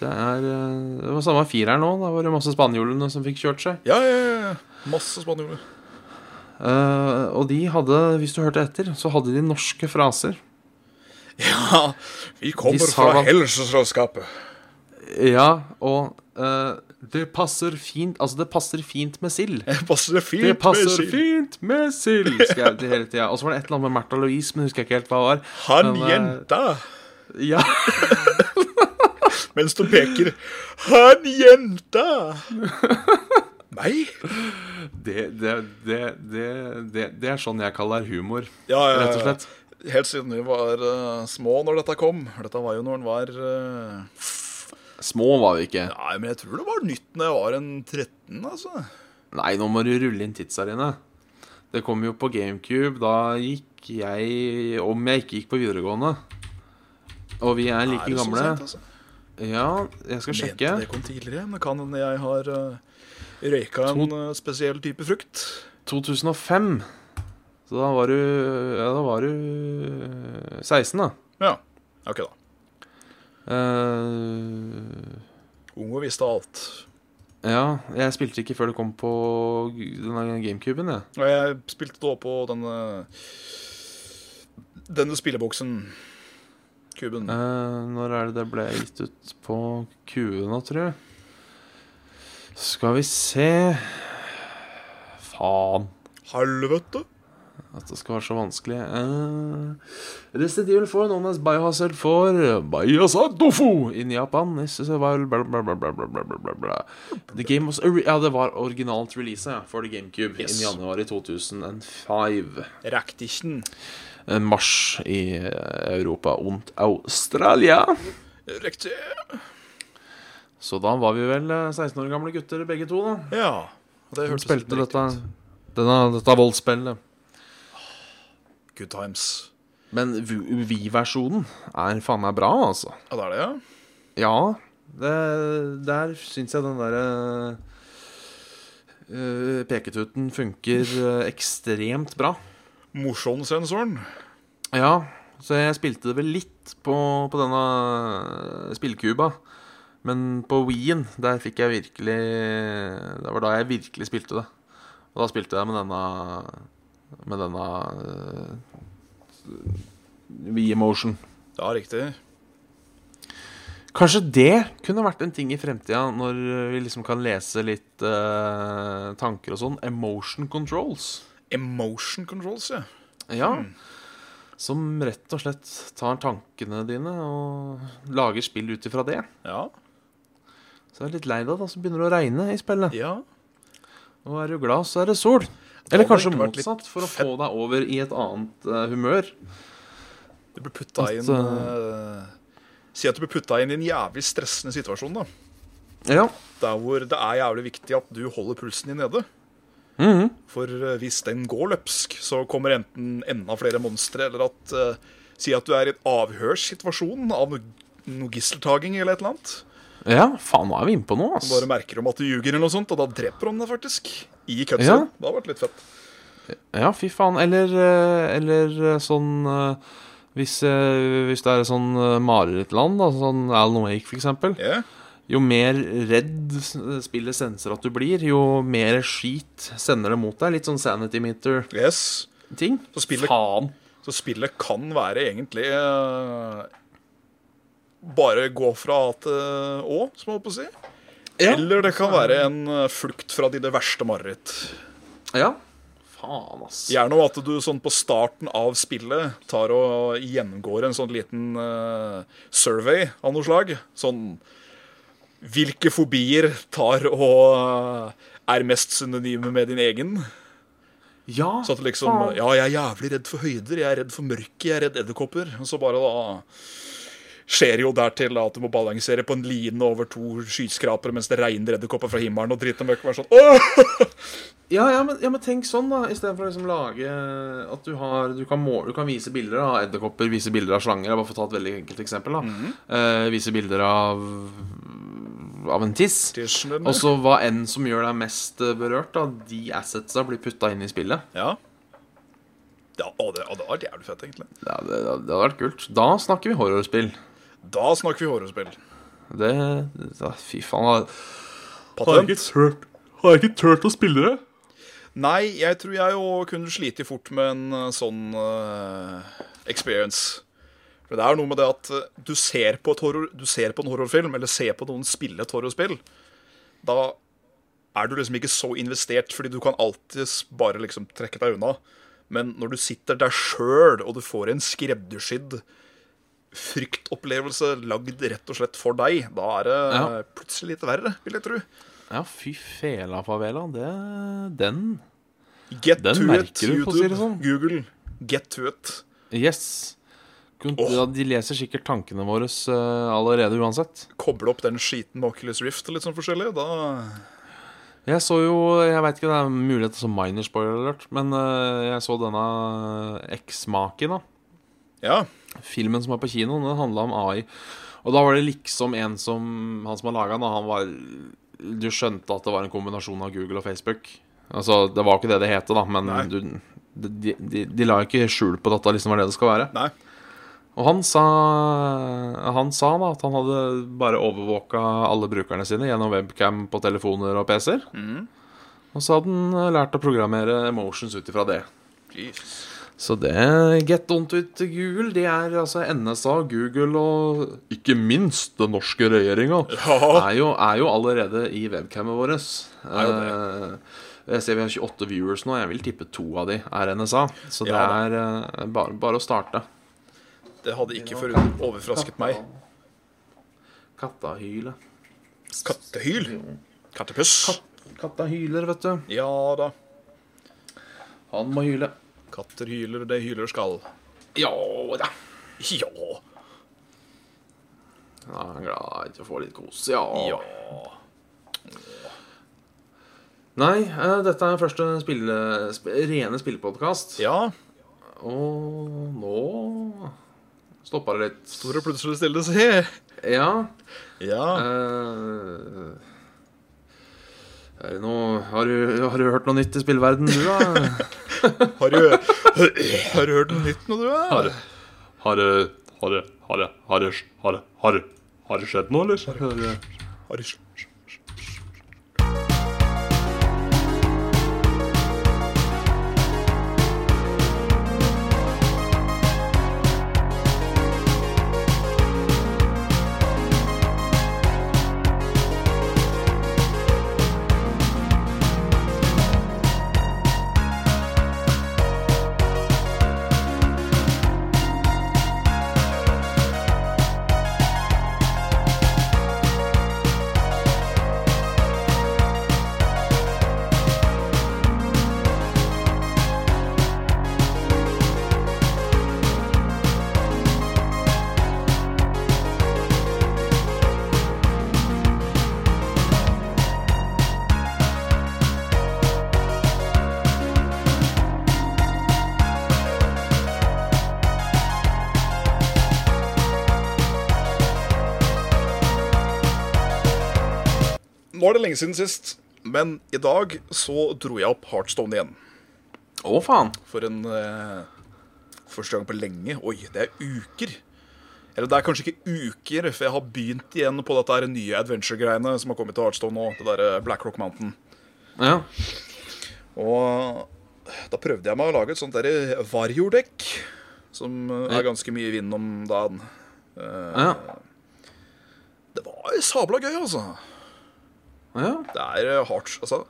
Det er eh, Det var samme fireren nå. Da var det masse spanjolene som fikk kjørt seg. Ja, ja, ja. ja. Masse spanjoler. Eh, og de hadde, hvis du hørte etter, så hadde de norske fraser. Ja, vi De kommer sa fra hva- helseselskapet. Ja, og eh, det passer fint Altså, det passer fint med sild. Det passer fint Det passer med sild. fint med sild, skrev de hele tida. Og så var det et eller annet med Märtha Louise, men husker jeg ikke helt hva det var. Han Men, eh, jenta, Ja, mens du peker. Han jenta! Meg? det, det, det, det, det, det er sånn jeg kaller humor, Ja, ja, ja. rett og slett. Helt siden vi var eh, små når dette kom. Dette var jo når den var eh, Små var vi ikke. Nei, men jeg tror det var nytt når jeg var en 13, altså. Nei, nå må du rulle inn tidsarena. Det kom jo på GameCube. Da gikk jeg Om jeg ikke gikk på videregående. Og vi er like Er det så gamle. sent, altså? Ja, jeg skal sjekke. Mente det kom tidligere, men det kan hende jeg har eh, røyka To- en eh, spesiell type frukt. 2005. Så da var du Ja, da var du 16, da. Ja. OK, da. Eh, Unge visste alt. ja, jeg spilte ikke før det kom på denne GameCuben, jeg. Og jeg spilte da på denne Denne spilleboksen. Kuben. Eh, når er det det ble gitt ut på Q-ene, tror jeg? Skal vi se Faen. Helvete! At det skal være så vanskelig. Uh, Resident Evil 4, known as Biohazard 4, Biohazard Dofo in Japan. This is a while, bla, bla, bla, bla, bla, bla, bla, bla, bla. The game was ori- Ja, det var originalt release ja, for The GameCube Yes. in januar i 2005. Rektichen. Eh, mars i eh, Europa und Australia. Riktig. Så da var vi vel eh, 16 år gamle gutter begge to, da. Ja. og Det Hun hørtes spilte riktig dette, ut. denne, dette voldsspillet. Good times. Men V- Wii-versjonen er faen meg bra, altså. Ja, det er det, ja? Ja, det, der syns jeg den derre eh, peketuten funker eh, ekstremt bra. Morsonsensoren. Ja, så jeg spilte det vel litt på, på denne spillekuba. Men på Wien, der fikk jeg virkelig Det var da jeg virkelig spilte det. Og da spilte jeg med denne Med denne eh, Wii Emotion. Ja, riktig. Kanskje det kunne vært en ting i fremtida, når vi liksom kan lese litt eh, tanker og sånn. Emotion controls. Emotion controls, ja. Ja. Som rett og slett tar tankene dine og lager spill ut ifra det. Ja. Så er jeg litt lei deg, da, så begynner det å regne i spillet. ja. Og er du glad, så er det sol. Eller hadde kanskje ikke vært litt motsatt, for å fett. få deg over i et annet eh, humør. Du blir putta At, inn eh, Si at du blir putta inn i en jævlig stressende situasjon. da Ja. Der hvor det er jævlig viktig at du holder pulsen din nede. Mm-hmm. For eh, hvis den går løpsk, så kommer enten enda flere monstre, eller at eh, Si at du er i en avhørssituasjon av noe, noe gisseltaking eller et eller annet. ja, faen, nå er vi inne på noe, ass. Bare merker om at du ljuger, eller noe sånt, og da dreper de deg faktisk. I cutscene. Ja. Det har vært litt fett. Ja, fy faen. Eller, eh, eller eh, sånn eh, hvis, eh, hvis det er sånn eh, marerittland, da, sånn Alan Wake for eksempel Ja. Jo mer redd s- spillet senser at du blir, jo mer skit sender det mot deg. Litt sånn Sanity Meter-ting. Yes. Så spillet- Faen. Så spillet kan være egentlig eh, Bare gå fra A til Å, som jeg holdt på å si. Ja. Eller det kan være en eh, flukt fra dine verste mareritt. ja. Faen, ass. Gjerne om at du sånn på starten av spillet tar og gjennomgår en sånn liten eh, survey av noe slag. Sånn Hvilke fobier tar og eh, er mest synonyme med din egen? Ja, Så at det liksom faen. Ja, jeg er jævlig redd for høyder, jeg er redd for mørket, jeg er redd edderkopper. Og så bare da skjer jo dertil at du må balansere på en line over to skyskrapere mens det regner edderkopper fra himmelen, og driten møkk være sånn Åh! Ja, ja, men, ja, men tenk sånn, da. Istedenfor å liksom lage At du har Du kan, måle, du kan vise bilder av edderkopper, vise bilder av slanger. Jeg bare får ta et veldig enkelt eksempel. da Mhm. eh, Vise bilder av Av en tiss. Tirsdagen, Og så hva enn som gjør deg mest eh, berørt, da. De assetsa blir putta inn i spillet. Ja. Ja, å, det, å, det var jævlig fett, egentlig. Ja, det, det hadde vært kult. Da snakker vi horrorspill. Da snakker vi horrorspill. Det, det Fy faen. Patent? turt Har jeg ikke turt å spille det? Nei, jeg tror jeg jo kunne slite fort med en eh, sånn eh, experience. For det er noe med det at eh, du ser på, et horror, du ser på en horrorfilm, eller ser på noen spille et horrorspill, da er du liksom ikke så investert, fordi du kan alltids bare liksom trekke deg unna. Men når du sitter der sjøl, og du får en skreddersydd fryktopplevelse lagd rett og slett for deg, da er det Ja. eh, plutselig litt verre, vil jeg tro. Ja, fy fela favela. Det Den. Get Den to it, merker du, for å si det YouTube, sånn. Google. Get to it. Yes. Kun, ja, de leser sikkert tankene våre eh, allerede uansett. koble opp den skiten med Oculus Rift og litt sånn forskjellig, da Jeg så jo Jeg veit ikke, det er mulig at det er sånn minor spoiler alert, men eh, jeg så denne eksmaken, da. Ja. Filmen som er på kino, den handla om AI. Og da var det liksom en som Han som har laga den, og han var Du skjønte at det var en kombinasjon av Google og Facebook. Altså, det var ikke det det het, da, men Nei. du, de, de, de la ikke skjul på at dette liksom var det det skal være. Nei. Og han sa, han sa da at han hadde bare overvåka alle brukerne sine gjennom webcam på telefoner og PC-er. Og så hadde han eh, lært å programmere emotions ut ifra det. Så det Get onto it Google, det er altså NSA, Google og ikke minst den norske regjeringa Ja. er, jo- er jo allerede i webcamet våre. jo Jeg ser vi har 28 viewers nå. Jeg vil tippe to av de er NSA. Så det Ja er eh, bare, bare å starte. Det hadde ikke forund- overrasket meg. Katta hyler. Kattehyl. Kattepuss. Katta hyler, vet du. Ja da. Han må hyle. Katter hyler, det hyler skal. Ja da. Ja. Ja, han er glad i å få litt kos. Ja. Ja. Nei, eh, dette er første spille, sp rene spillepodkast. Ja. Og nå stoppa det litt. Så var det plutselig stille, se. Ja. Ja. eh, er det noe har du, har du hørt noe nytt i spillverden du, da? Har du, har du hørt noe nytt nå, du? Er? Har det Har det Har det Har det Har det Har det, skjedd noe, eller? Har du var det lenge siden sist, men i dag så dro jeg opp Heartstone igjen. Å, faen. For en eh, Første gang på lenge. Oi, det er uker. Eller det er kanskje ikke uker, for jeg har begynt igjen på dette her nye adventure-greiene som har kommet til Heartstone nå. Det derre Black Rock Mountain. Ja. Og eh, da prøvde jeg meg å lage et sånt derre Varjo-dekk. Som eh, er ganske mye vind om dagen. Ja. Det var sabla gøy, altså. ja. Det er eh, hardt. Altså,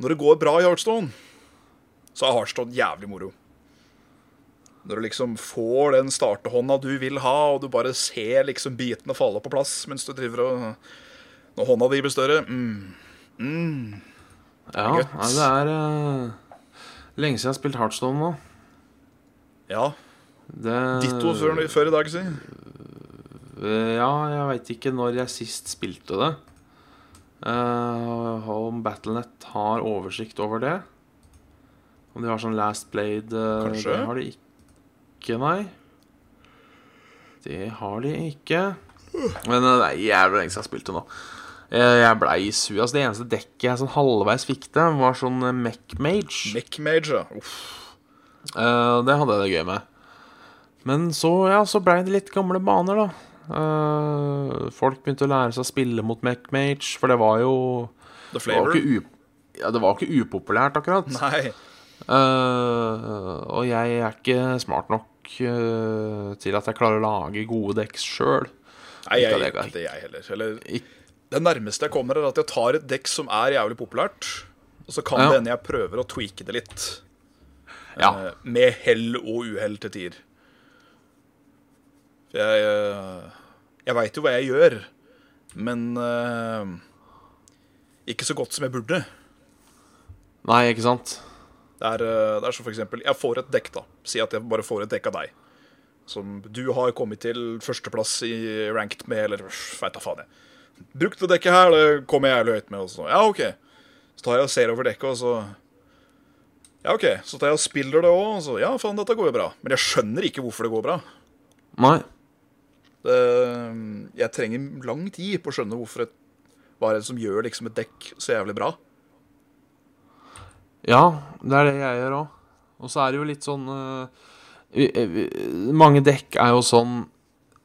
når det går bra i Heartstone, så er Heartstone jævlig moro. Når du liksom får den startehånda du vil ha, og du bare ser liksom bitene falle på plass mens du driver og Når hånda di blir større mm. ja. Guts. Nei, det er eh, lenge siden jeg har spilt Heartstone nå. Ja. Det, Ditto før, før i dag, si. Eh, Ja, jeg veit ikke når jeg sist spilte det. Eh, om Battlenet har oversikt over det. Om de har sånn Last Blade eh, Kanskje. Det har de ikke, nei. Det har de ikke. Men eh, det er jævlig lenge siden jeg spilte nå. Eh, Jeg blei sur. Altså, det eneste dekket jeg sånn halvveis fikk til, var sånn eh, Mech Mage. Mech Major. Uff. Eh, det hadde jeg det gøy med. Men så, ja, så blei det litt gamle baner, da. Eh, folk begynte å lære seg å spille mot MacMage, for det var jo The det var Flavor. ikke, u, ja, det var ikke upopulært, akkurat. Nei. Eh, og jeg er ikke smart nok eh, til at jeg klarer å lage gode dekks sjøl. Nei, jeg Ikke det, gjør ikke det, jeg heller. Eller, Ik- det nærmeste jeg kommer, er at jeg tar et dekk som er jævlig populært, og så kan Ja. det hende jeg prøver å tweake det litt. Ja. Eh, Med hell og uhell til tider. For Jeg, eh, jeg veit jo hva jeg gjør, men eh, ikke så godt som jeg burde. Nei, ikke sant? Det er, eh, det er som for eksempel, jeg får et dekk, da. Si at jeg bare får et dekk av deg. Som du har kommet til førsteplass i ranked med, eller veit da faen jeg. Bruk det dekket her, det kommer jeg jævlig høyt med. Og så. Ja, OK. Så tar jeg og ser over dekket, og så Ja, OK. Så tar jeg og spiller det òg, og så Ja, faen, dette går jo bra. Men jeg skjønner ikke hvorfor det går bra. Nei. Det, jeg trenger lang tid på å skjønne hvorfor et, hva er det som gjør liksom et dekk så jævlig bra. Ja, det er det jeg gjør òg. Og så er det jo litt sånn eh, vi- eh, vi- Mange dekk er jo sånn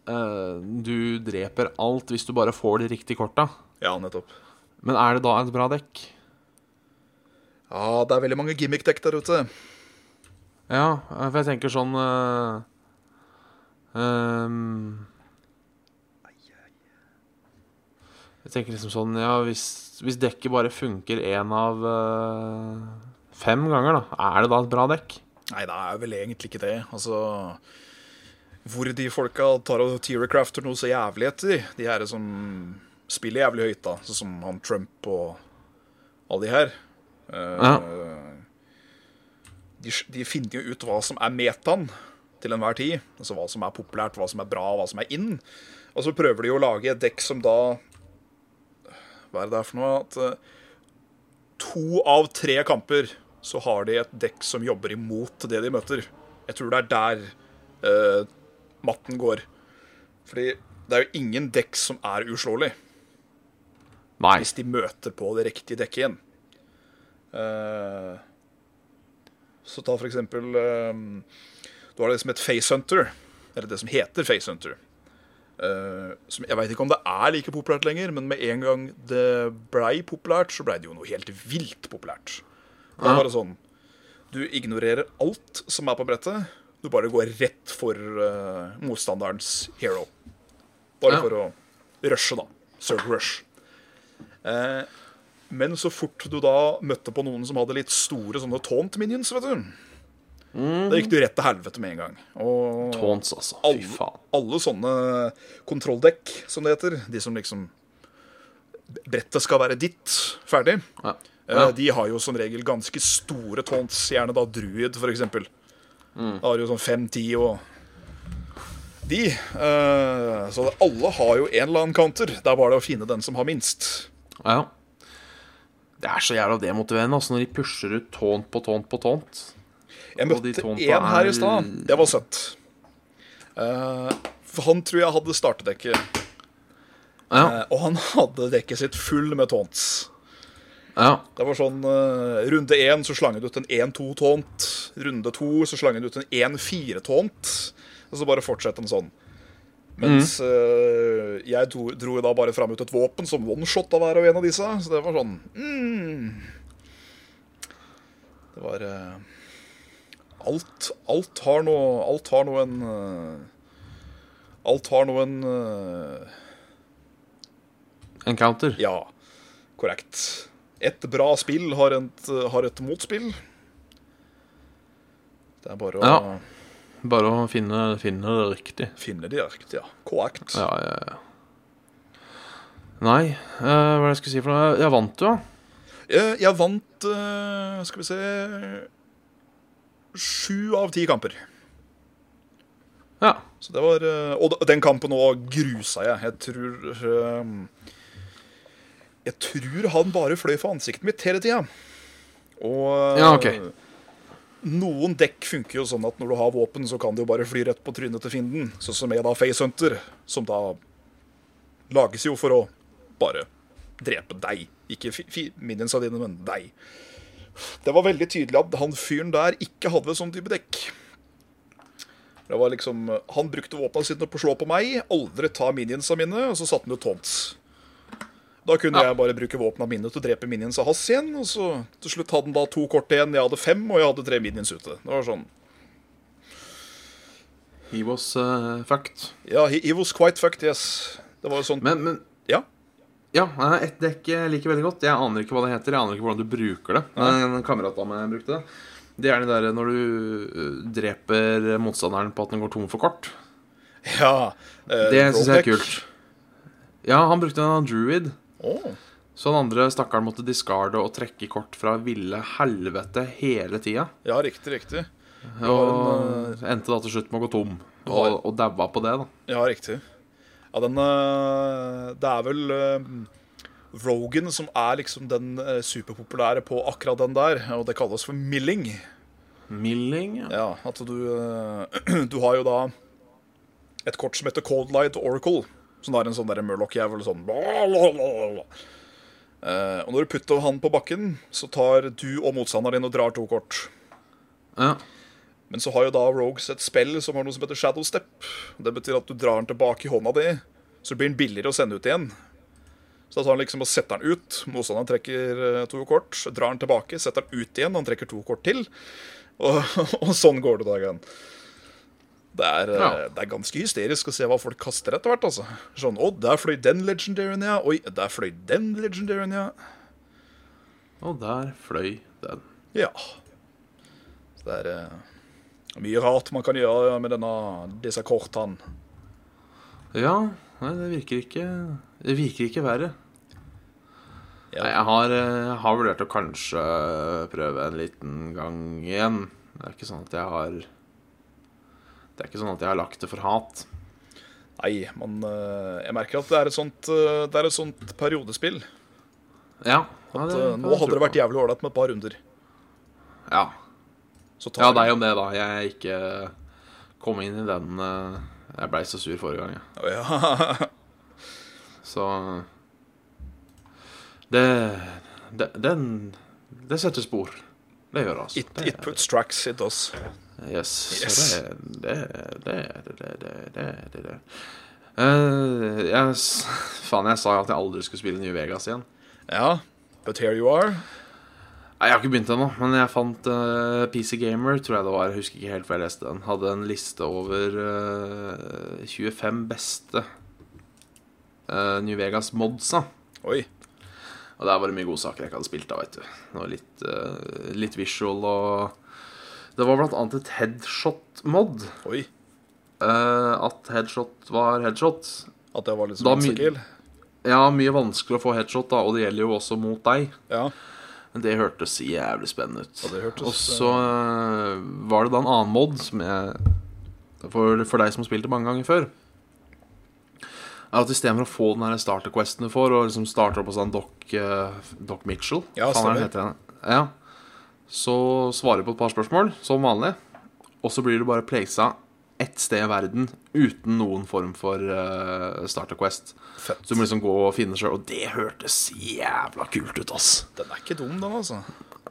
eh, Du dreper alt hvis du bare får de riktige korta. Ja, nettopp. Men er det da et bra dekk? Ja, det er veldig mange gimmick-dekk der ute. Ja, eh, for jeg tenker sånn eh, ehm, Jeg tenker liksom sånn Ja, hvis, hvis dekket bare funker én av eh, fem ganger, da, er det da et bra dekk? Nei, det er vel egentlig ikke det. Altså Hvor de folka tar og tearcrafter noe så jævlig etter, de her som spiller jævlig høyt, da, sånn som han Trump og alle de her eh, Ja. de, de finner jo ut hva som er metaen til enhver tid. Altså hva som er populært, hva som er bra, hva som er in. Og så prøver de jo å lage et dekk som da Hva er det det er for noe? At eh, to av tre kamper så har de et dekk som jobber imot det de møter. Jeg tror det er der eh, matten går. Fordi det er jo ingen dekk som er uslåelig Nei. hvis de møter på det riktige dekket igjen. Eh, så ta for eksempel eh, Du har det som et facehunter, eller det som heter facehunter. Uh, som, jeg veit ikke om det er like populært lenger, men med en gang det blei populært, så blei det jo noe helt vilt populært. Det er bare sånn Du ignorerer alt som er på brettet. Du bare går rett for eh, motstanderens hero. Bare Ja. for å rushe, da. Serve rush. Eh, men så fort du da møtte på noen som hadde litt store sånne taunt minions, vet du Da gikk du rett til helvete med en gang. Og Taunts, altså. Mm. Fy alle, faen. alle sånne kontrolldekk, som det heter, de som liksom Brettet skal være ditt, ferdig. Ja. Eh, De har jo som regel ganske store taunts, gjerne da druid, for eksempel. Mm. Da har de jo sånn fem-ti og De. Eh, så alle har jo en eller annen counter. Det er bare det å finne den som har minst. Ja. Det er så jævla demotiverende altså, når de pusher ut taunt på taunt på taunt. Jeg Og de møtte tomta en her er- i stad. Det var søtt. Eh, for han tror jeg hadde startedekket. Ja. Eh, og han hadde dekket sitt full med taunts. Ja. Det var sånn eh, Runde én så slang han ut en 1-2-tånt. Runde to så slang han ut en 1-4-tånt. Og så bare fortsetter han sånn. Mens eh, jeg dro, dro da bare fram ut et våpen som oneshot av hver og en av disse. Så det var sånn mm. Det var eh, Alt, alt har nå Alt har nå en eh, Alt har nå en eh, Encounter. ja, korrekt. Et bra spill har, et- har et motspill. Det er bare å Ja. Bare å finne, finne det riktig. finne det riktig, ja. Correct. Ja, ja, ja. Nei, eh, hva er det jeg skulle si for noe? Jeg vant jo, da. Jeg, jeg vant eh, Skal vi se Sju av ti kamper. Ja. Så det var, eh, og d- den kampen òg grusa jeg. Jeg tror eh, Jeg tror han bare fløy for ansiktet mitt hele tida. Og eh, Ja, ok. noen dekk funker jo sånn at når du har våpen, så kan du jo bare fly rett på trynet til fienden. Sånn som jeg da Facehunter, som da lages jo for å bare drepe deg. Ikke fi- fi- minionsa dine, men deg. Det var veldig tydelig at han fyren der ikke hadde sånn type dekk. Det var liksom, Han brukte våpnene sine på å slå på meg, aldri ta minionsa mine, og så satte han ut taunts. Da kunne jeg bare bruke våpnene mine til å drepe minionsa hans igjen. Og så til slutt hadde han da to kort igjen, jeg hadde fem, og jeg hadde tre minions ute. Det var sånn, He was eh, fucked. ja, he, he was quite fucked, yes. Det var jo sånn, Men, men ja. Ja, eh, ett dekk jeg liker veldig godt. Jeg aner ikke hva det heter. Jeg aner ikke hvordan du bruker det. Men En kamerat av meg brukte det. Det er det der når du eh, dreper motstanderen på at den går tom for kort. ja eh, Det syns jeg er rollback. kult. Ja, han brukte en av druid. Å, Så den andre stakkaren måtte discarde og trekke kort fra ville helvete hele tida. ja, riktig, riktig. Og endte da til slutt med å gå tom. Og, og daua på det, da. Ja, riktig. Ja, den eh, Det er vel eh, Rogan som er liksom den eh, superpopulære på akkurat den der, og det kalles for milling. Milling, ja. Ja, at du eh, Du har jo da et kort som heter Cold Light Oracle. Som er en sånn der Murloc-jævel sånn blablabla. Eh, Og når du putter han på bakken, så tar du og motstanderen din og drar to kort. ja. Men så har jo da Rogues et spill som har noe som heter Shadow Step. Det betyr at du drar den tilbake i hånda di, så blir den billigere å sende ut igjen. Så da tar han liksom og setter den ut. Motstanderen trekker eh, to kort. så Drar den tilbake, setter den ut igjen. Han trekker to kort til. Og, og sånn går det dagen. Det er, eh, Ja. det er ganske hysterisk å se hva folk kaster etter hvert. altså. Sånn, Å, der fløy den legendaryen, ja. Oi, der fløy den legendaryen, ja. Og der fløy den. Ja. Så det er eh, mye rart man kan gjøre med denne, disse kortene. Ja, nei, det virker ikke Det virker ikke verre. Ja. Nei, jeg har, eh, jeg har vurdert å kanskje prøve en liten gang igjen. Det er ikke sånn at jeg har Det er ikke sånn at jeg har lagt det for hat. Nei, man, eh, jeg merker at det er et sånt, eh, det er et sånt periodespill. Ja. ja, At, det eh, kan nå jeg hadde tro det vært på. jævlig ålreit med et par runder. Ja. Så tar ja, vi- deg om det, da. Jeg ikke eh, kom inn i den eh, Jeg blei så sur forrige gang, jeg. Å, ja. Så eh, det, det Den Det setter spor. Det gjør det, altså. It, Det- it puts tracks, it does. Yes. Yes. Så det det det det det det det, det, det. Eh, jeg, s- faen, jeg sa jo at jeg aldri skulle spille New Vegas igjen. Ja, but here you are. Nei, Jeg har ikke begynt ennå, men jeg fant eh, PC Gamer, tror jeg det var. Jeg husker ikke helt hva jeg leste den. Hadde en liste over eh, 25 beste eh, New Vegas-modsa. Oi. Og der var det mye godsaker jeg ikke hadde spilt av, vet du. Det var litt, eh, litt visual og Det var blant annet et headshot-mod. Oi. eh, at headshot var headshot. At det var litt Da sånn my- kill. Ja, mye vanskeligere å få headshot, da, og det gjelder jo også mot deg. Ja. Men det hørtes jævlig spennende ut. Ja, det hørtes, og så eh, var det da en annen mod som jeg For, for deg som har spilt det mange ganger før. Er at istedenfor å få den her starter questen du får, og liksom starter opp hos han Doc, eh, Doc Mitchell Ja, faen er det han stemmer. heter han? ja, Så svarer du på et par spørsmål, som vanlig. Og så blir du bare placet ett sted i verden uten noen form for eh, Starter Quest. Fett. Så du må liksom gå og finne sjøl. Og det hørtes jævla kult ut, ass. Den er ikke dum, den, altså.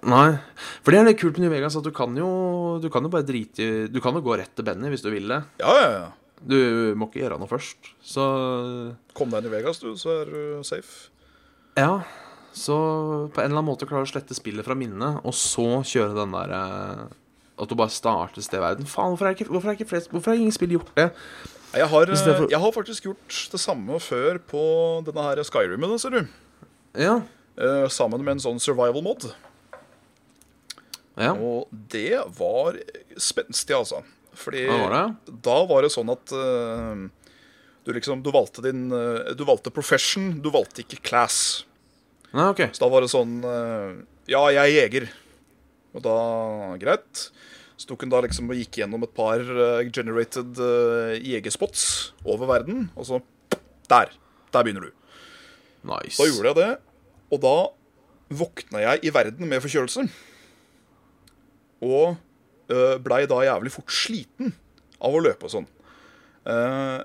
Nei. For det er litt kult med New Vegas, at du kan jo, du kan jo bare drite i Du kan jo gå rett til Benny hvis du vil det. Ja, ja, ja. Du må ikke gjøre noe først. Så Kom deg inn i Vegas, du, så er du safe. ja. Så på en eller annen måte klare å slette spillet fra minnet, og så kjøre den der eh, At du bare starter et sted i verden. Faen, hvorfor er ikke, hvorfor er ikke flest, hvorfor har ingen spill gjort det? Jeg har, eh, Hvis det er for- jeg har faktisk gjort det samme før på denne her Skyrimen, da, ser du. Ja. Eh, sammen med en sånn survival mod. ja. Og det var spenstig, altså. Fordi Ja, var da var det sånn at eh, du liksom Du valgte din eh, Du valgte profession, du valgte ikke class. Nei, OK. Så da var det sånn eh, Ja, jeg er jeger. Og da Greit. Så tok hun da liksom og gikk gjennom et par eh, generated eh, jegerspots over verden, og så Der! Der begynner du. Nice. Da gjorde jeg det, og da våkna jeg i verden med forkjølelse. Og øh, blei da jævlig fort sliten av å løpe og sånn. Eh,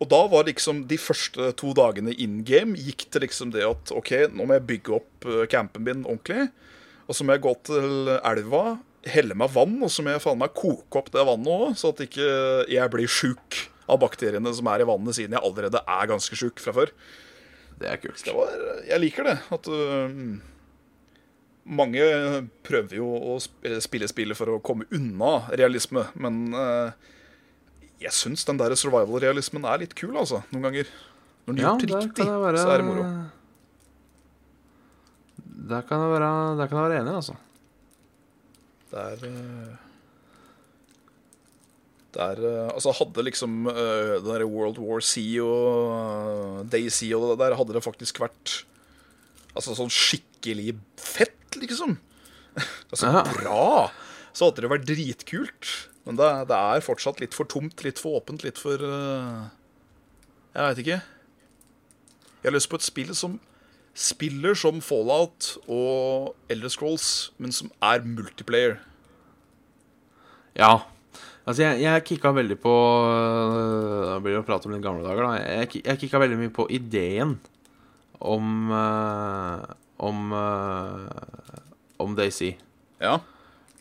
og da var liksom de første to dagene in game gikk til liksom det at OK, nå må jeg bygge opp øh, campen min ordentlig. Og så må jeg gå til elva, helle meg vann, og så må jeg faen meg koke opp det vannet òg, så at ikke jeg blir sjuk av bakteriene som er i vannet, siden jeg allerede er ganske sjuk fra før. Det er kult. Det var, jeg liker det. At øhm, mange prøver jo å sp- spille spillet for å komme unna realisme, men øh, jeg syns den der survival-realismen er litt kul, altså. Noen ganger. Når den er Ja, gjort der riktig, kan jeg være så er det moro. Der kan jeg være, der kan jeg være enig, altså. Det er øh, det er, øh, altså Hadde liksom øh, det der World War C og øh, Daisy og det der, hadde det faktisk vært Altså sånn skikkelig fett, liksom. altså Ja. bra! Så hadde det vært dritkult. Men det, det er fortsatt litt for tomt, litt for åpent, litt for øh, Jeg veit ikke. Jeg har lyst på et spill som spiller som Fallout og Elder Scrolls, men som er multiplayer. Ja. Altså, jeg, jeg kikka veldig på øh, Da blir det å prate om litt gamle dager, da. Jeg, ki- jeg kikka veldig mye på ideen om øh, Om øh, Om Daisy. Ja.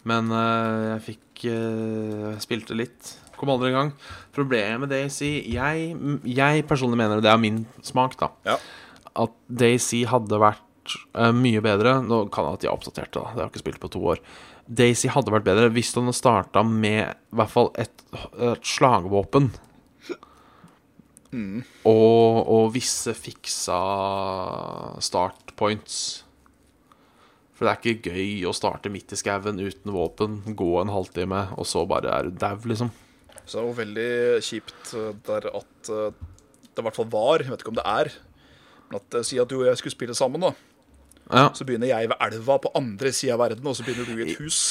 Men øh, jeg fikk øh, Jeg spilte litt. Kom aldri i gang. Problemet med Daisy Jeg, jeg personlig mener, og det er min smak, da, Ja. at Daisy hadde vært eh, mye bedre Nå kan jeg at de har oppdatert det, da. Det har jeg ikke spilt på to år. Daisy hadde vært bedre hvis den hadde starta med i hvert fall et, et slagvåpen. Og, og visse fiksa start points. For det er ikke gøy å starte midt i skauen uten våpen, gå en halvtime, og så bare er du dau, liksom. Så det er jo veldig kjipt eh, der at eh, det i hvert fall var, jeg vet ikke om det er, men at eh, si at du og jeg skulle spille sammen, da. Ja, Så begynner jeg ved elva på andre sida av verden, og så begynner du i et hus.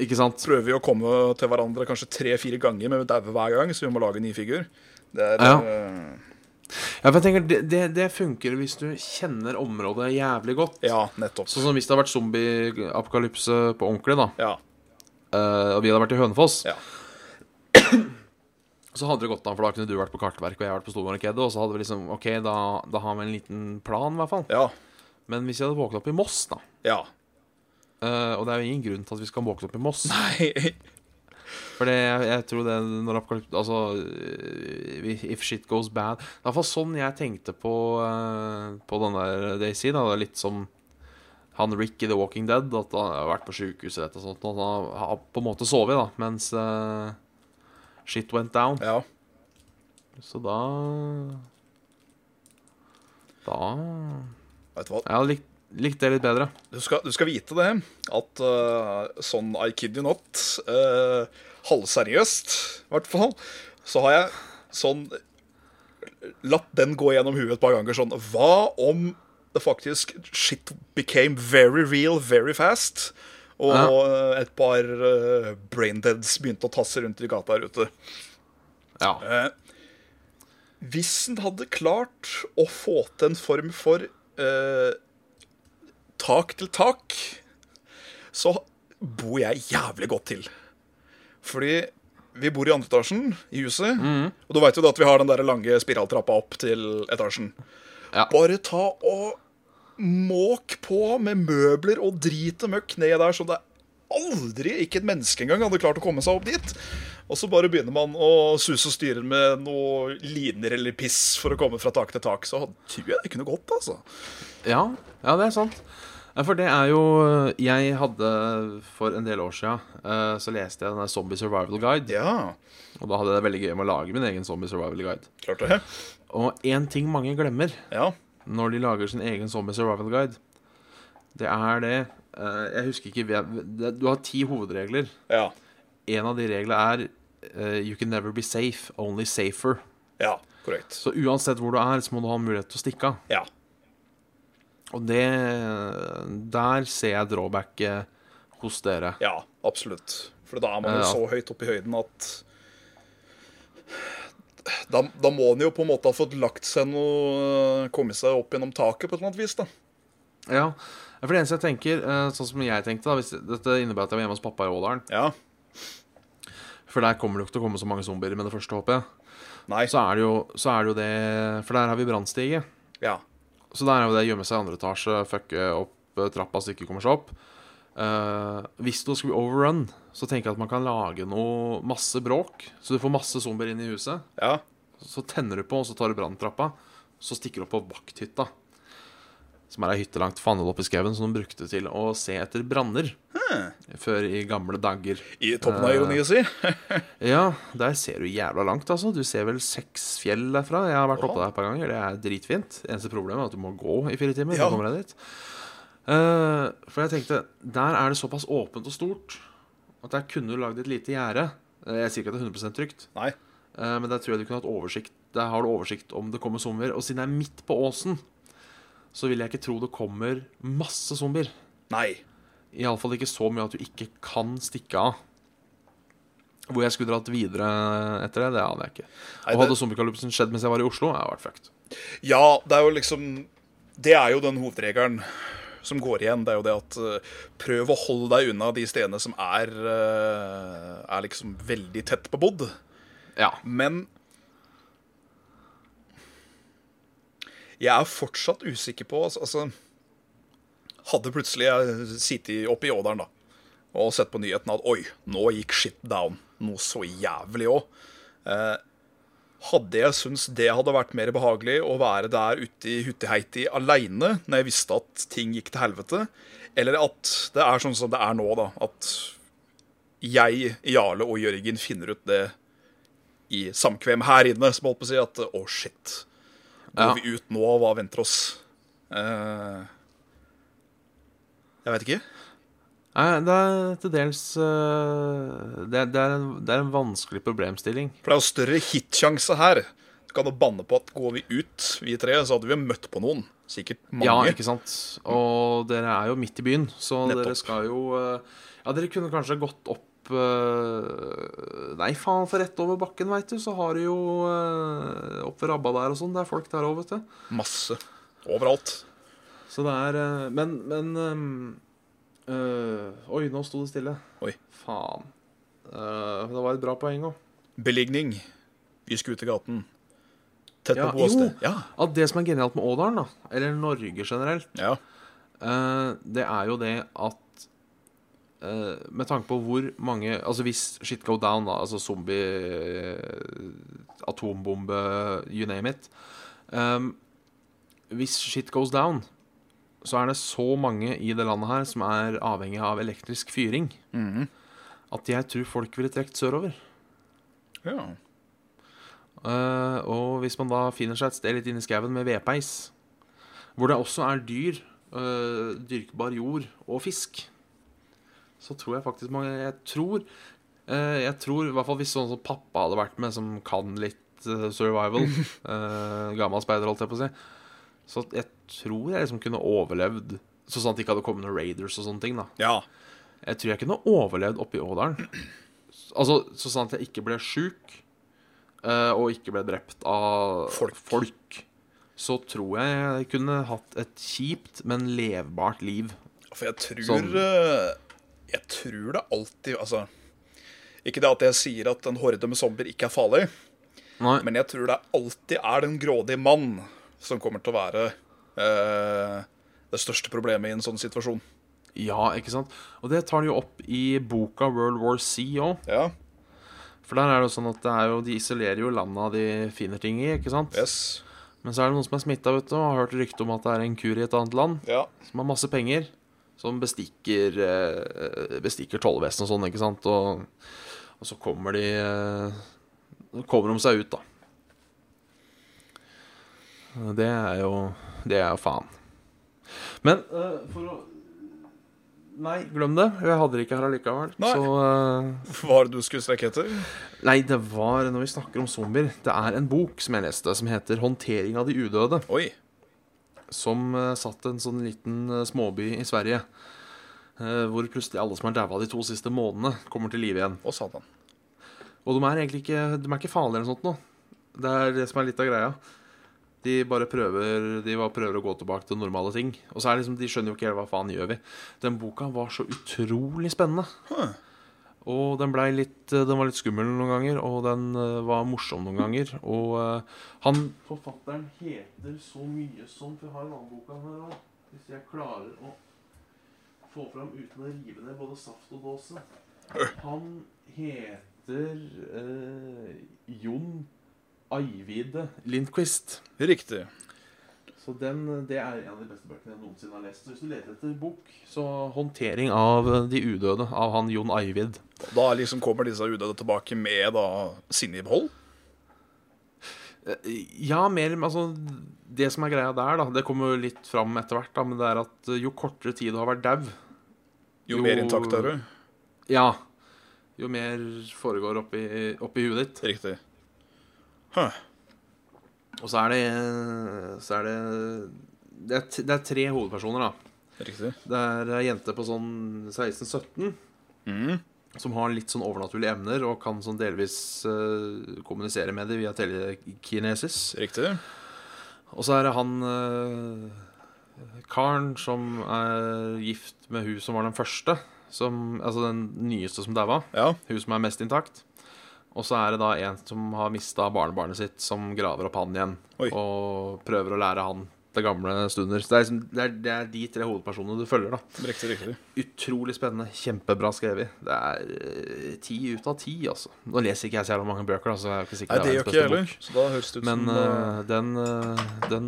ikke sant? Prøver vi å komme til hverandre kanskje tre-fire ganger, men vi dauer hver gang, så vi må lage en ny figur. Det er Ja. eh, Ja, for jeg tenker, det, det, det funker hvis du kjenner området jævlig godt. ja, nettopp. Sånn som hvis det hadde vært zombie-apokalypse på ordentlig, da, Ja. eh, og vi hadde vært i Hønefoss, Ja. så hadde det gått an, for da kunne du vært på Kartverk og jeg vært på Stormarkedet, og så hadde vi liksom OK, da, da har vi en liten plan, i hvert fall. Ja. Men hvis jeg hadde våknet opp i Moss, da Ja. eh, Og det er jo ingen grunn til at vi skal våkne opp i Moss, Nei. for det, jeg, jeg tror det når apokalypse Altså, eh, if shit goes bad Det er i hvert fall sånn jeg tenkte på, eh, på den der Daisy, da. Det er litt som han Rick i The Walking Dead, at han har vært på sjukehuset rett og sånt, og han har på en måte sovet, da, mens eh, shit went down. Ja. Så da Da Vet du hva? Jeg hadde likt, likt det litt bedre. Du skal, du skal vite det, at eh, sånn I kid you not, eh, halvseriøst i hvert fall, så har jeg sånn Latt den gå gjennom huet et par ganger sånn Hva om det faktisk shit became very real very fast? Og eh, et par eh, braindeads begynte å tasse rundt i gata her ute. Ja. Eh, hvis en hadde klart å få til en form for eh, tak til tak, så bor jeg jævlig godt til. Fordi vi bor i andre etasjen i huset. Og du veit jo da at vi har den der lange spiraltrappa opp til etasjen. Ja. Bare ta og måk på med møbler og drit og møkk ned der, så det aldri, ikke et menneske engang, hadde klart å komme seg opp dit. Og så bare begynner man å suse og styre med noe liner eller piss for å komme fra tak til tak. Så tror jeg det kunne gått, altså. Ja, ja, det er sant. Ja, For det er jo Jeg hadde for en del år siden eh, så leste jeg denne Zombie Survival Guide. Ja, Og da hadde jeg det veldig gøy med å lage min egen Zombie Survival Guide. klart det. Og én ting mange glemmer Ja. når de lager sin egen Zombie Survival Guide, det er det eh, Jeg husker ikke hvem- det- Du har ti hovedregler. Ja. En av de reglene er eh, You can never be safe, only safer. Ja, korrekt. Så uansett hvor du er, så må du ha en mulighet til å stikke av. Ja. Og det eh, Der ser jeg drawbacket hos dere. Ja, absolutt. For da er man jo Ja. så høyt oppe i høyden at da, da må en jo på en måte ha fått lagt seg noe Komme seg opp gjennom taket på et eller annet vis, da. Ja, for det eneste jeg tenker, eh, sånn som jeg tenkte da, hvis Dette innebærer at jeg var hjemme hos pappa i Ådalen. Ja. For der kommer det jo ikke til å komme så mange zombier med det første, håper jeg. Nei. Så er det jo, så er det, jo det For der har vi brannstige. Ja. Så der er jo det gjemme seg i andre etasje, fucke opp eh, trappa så det ikke kommer seg opp. Eh, hvis du skulle bli overrun, så tenker jeg at man kan lage noe masse bråk. Så du får masse zombier inn i huset. Ja. Så tenner du på, og så tar du branntrappa. Så stikker du opp på vakthytta. Som er ei hytte langt faen oppe i skauen som de brukte til å se etter branner. Før i gamle dager. I toppen av ironien si. Ja, der ser du jævla langt, altså. Du ser vel seks fjell derfra. Jeg har vært oppe der et par ganger. Det er dritfint. Eneste problemet er at du må gå i fire timer. Ja. Ja. kommer deg dit. Eh, for jeg tenkte, der er det såpass åpent og stort at der kunne du lagd et lite gjerde. Eh, Jeg sier ikke at det er 100 trygt, Nei. Eh, Men der tror jeg du kunne hatt oversikt Der har du oversikt om det kommer zombier. Og siden jeg er midt på åsen, så vil jeg ikke tro det kommer masse zombier. Nei. Iallfall ikke så mye at du ikke kan stikke av. Hvor jeg skulle dratt videre etter det, det aner jeg ikke. Nei, Og hadde det- zombiekalypsen skjedd mens jeg var i Oslo, jeg hadde vært fucked. Ja, det er jo liksom Det er jo den hovedregelen som går igjen. Det er jo det at eh, prøv å holde deg unna de stedene som er, eh, er liksom veldig tett bebodd. Ja. Men jeg er fortsatt usikker på altså, altså Hadde plutselig jeg sittet oppe i Ådalen da, og sett på nyheten at oi, nå gikk shit down. Noe så jævlig òg. Eh, hadde jeg syntes det hadde vært mer behagelig å være der ute i Huttiheiti aleine når jeg visste at ting gikk til helvete, eller at det er sånn som det er nå, da, at jeg, Jarle og Jørgen finner ut det i samkvem her inne, som holdt på å si at å, shit. Går Ja. vi ut nå, hva venter oss? Eh, jeg vet ikke. Nei, det er til dels øh, det, det, er en, det er en vanskelig problemstilling. For det er jo større hitsjanse her. Du kan jo banne på at går vi ut, vi tre, så hadde vi møtt på noen. Sikkert mange. Ja, ikke sant? Og dere er jo midt i byen, så Nettopp. dere skal jo eh, Ja, dere kunne kanskje gått opp eh, Nei, faen, for rett over bakken, veit du, så har du jo eh, opp ved rabba der og sånn. Det er folk der òg, vet du. Masse. Overalt. Så det er eh, Men, men ehm, eh, Oi, nå sto det stille. Oi. Faen. Eh, det var et bra poeng òg. Beligning. Vi skulle ut i gaten. Tett Ja, på jo. sted. Ja. At det som er genialt med Ådalen, da, eller Norge generelt, ja. Eh, det er jo det at eh, Med tanke på hvor mange Altså hvis shit go down, da, altså zombie, eh, atombombe, you name it Ehm, Hvis shit goes down, så er det så mange i det landet her som er avhengig av elektrisk fyring, Mhm. at jeg tror folk ville trukket sørover. ja. Eh, og hvis man da finner seg et sted litt inne i skauen med vedpeis, hvor det også er dyr, eh, dyrkbar jord og fisk, så tror jeg faktisk mange Jeg tror, eh, jeg tror i hvert fall hvis sånn som pappa hadde vært med, som kan litt eh, survival uh, Gammel speider, holdt jeg på å si. Så jeg tror jeg liksom kunne overlevd så sånn at det ikke hadde kommet noen raiders og sånne ting. da ja. jeg tror jeg kunne overlevd oppe i Ådalen. Altså, så sant jeg ikke ble sjuk, eh, og ikke ble drept av Folk. så tror jeg jeg kunne hatt et kjipt, men levbart liv. For jeg tror Sånn. eh, Jeg tror det alltid Altså Ikke det at jeg sier at en horde med zombier ikke er farlig, Nei. men jeg tror det alltid er den grådige mann som kommer til å være eh, det største problemet i en sånn situasjon. Ja, ikke sant? Og det tar de jo opp i boka World War C òg. Ja, For der er det jo sånn at det er jo, de isolerer jo landa de finner ting i, ikke sant? yes, Men så er det noen som er smitta, vet du, og har hørt rykte om at det er en kur i et annet land ja, som har masse penger, som bestikker, eh, bestikker tollvesenet og sånn, ikke sant? Og, og så kommer de eh, så kommer de seg ut, da. Det er jo Det er jo faen. Men eh, for å Nei, glem det. Jeg hadde det ikke her allikevel. Nei. Så eh, Hva er det du skulle strekke etter? Nei, det var Når vi snakker om zombier, det er en bok som jeg leste, som heter 'Håndtering av de udøde' Oi. som eh, satt en sånn liten eh, småby i Sverige. eh, hvor plutselig alle som har daua de to siste månedene, kommer til live igjen. Å, satan. Og de er egentlig ikke, de er ikke farlige eller noe sånt nå. Det er det som er litt av greia. De bare prøver, de bare prøver å gå tilbake til normale ting. Og så er det liksom, de skjønner jo ikke helt hva faen gjør vi. Den boka var så utrolig spennende. Huh. Og den, ble litt, den var litt skummel noen ganger, og den eh, var morsom noen ganger. Og eh, han Forfatteren heter så mye som For jeg har en annen bok av her òg. Hvis jeg klarer å få fram uten å rive ned både saft og dåse. Han heter eh, Jon Ajvide Lindqvist. Riktig. Så den, det er en av de beste bøkene jeg noensinne har lest. Så hvis du leter etter bok, så 'Håndtering av de udøde' av han Jon Ajvid. Da liksom kommer disse udøde tilbake med da sinne i behold? Eh, Ja, mer Altså, det som er greia der, da Det kommer jo litt fram etter hvert, da, men det er at eh, jo kortere tid du har vært dau, Jo, Jo. mer intakt er du. ja, jo mer foregår oppi, oppi huet ditt. Riktig. Huh. Og så er det Så er det det er, t- det er tre hovedpersoner, da. Riktig. Det er ei jente på sånn 16-17 Mm. som har litt sånn overnaturlige emner og kan sånn delvis eh, kommunisere med det via telekinesis. Riktig. Og så er det han eh, karen som er gift med hun som var den første, som, altså den nyeste som daua. Ja. Hun som er mest intakt. Og så er det da en som har mista barnebarnet sitt, som graver opp han igjen. Oi. Og prøver å lære han det gamle stunder. Så det er, liksom, det er, det er de tre hovedpersonene du følger, da. Riktig, riktig. Utrolig spennende. Kjempebra skrevet. Det er eh, ti ut av ti, altså. Nå leser ikke jeg så jævla mange bøker, da, så jeg er ikke sikker Nei, det er gjør verdens ikke jeg beste heller. Så da høres det ut Men som eh, eh, den, eh, den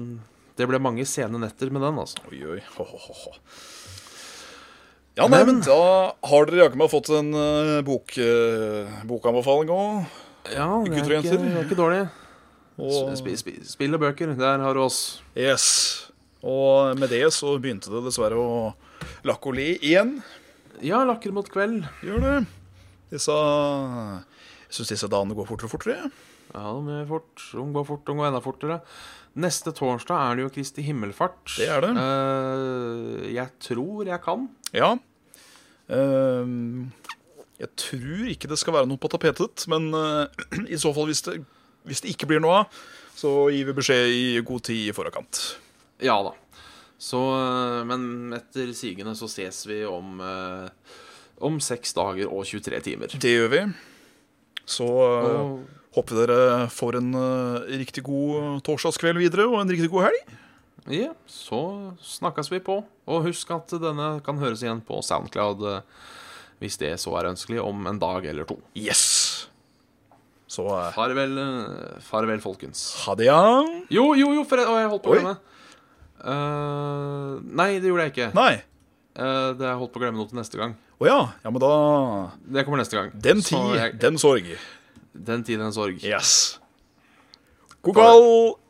Det ble mange sene netter med den, altså. eh, Oi, oi. Ho, ho, ho, ho. Ja, nei, men da har dere jaggu meg fått en eh, bok, eh, bokanbefaling òg. Ja, det Gutter er ikke, og jenter. det er ikke dårlig. Og Sp sp spill og bøker, der har du oss. yes. Og med det så begynte det dessverre å lakke og le igjen. Ja, lakker mot kveld. Gjør det. Disse Jeg syns disse dagene går fortere og fortere. Ja, de er fort. De går fort, de går enda fortere. Neste torsdag er det jo Kristi himmelfart. Det er det. Eh, jeg tror jeg kan. Ja. Ehm, jeg tror ikke det skal være noe på tapetet, men eh, i så fall, hvis det, hvis det ikke blir noe av, så gir vi beskjed i god tid i forkant. Ja da. Så, eh, men etter sigende så ses vi om eh, om seks dager og 23 timer. Det gjør vi. Så eh, Og håper vi dere får en eh, riktig god torsdagskveld videre, og en riktig god helg. Ja, så snakkes vi på. Og husk at denne kan høres igjen på Soundcloud eh, hvis det så er ønskelig, om en dag eller to. Yes! Så eh, Farvel, eh, farvel folkens. ha det, ja. Jo, jo, jo, for jeg, å, jeg holdt på å Oi. glemme. Eh, nei, det gjorde jeg ikke. Nei. Eh, det har jeg holdt på å glemme noe til neste gang. Å ja. Ja, men da Det kommer neste gang. Den Så tid, jeg- den sorg. den tid, den sorg. Yes. God kall.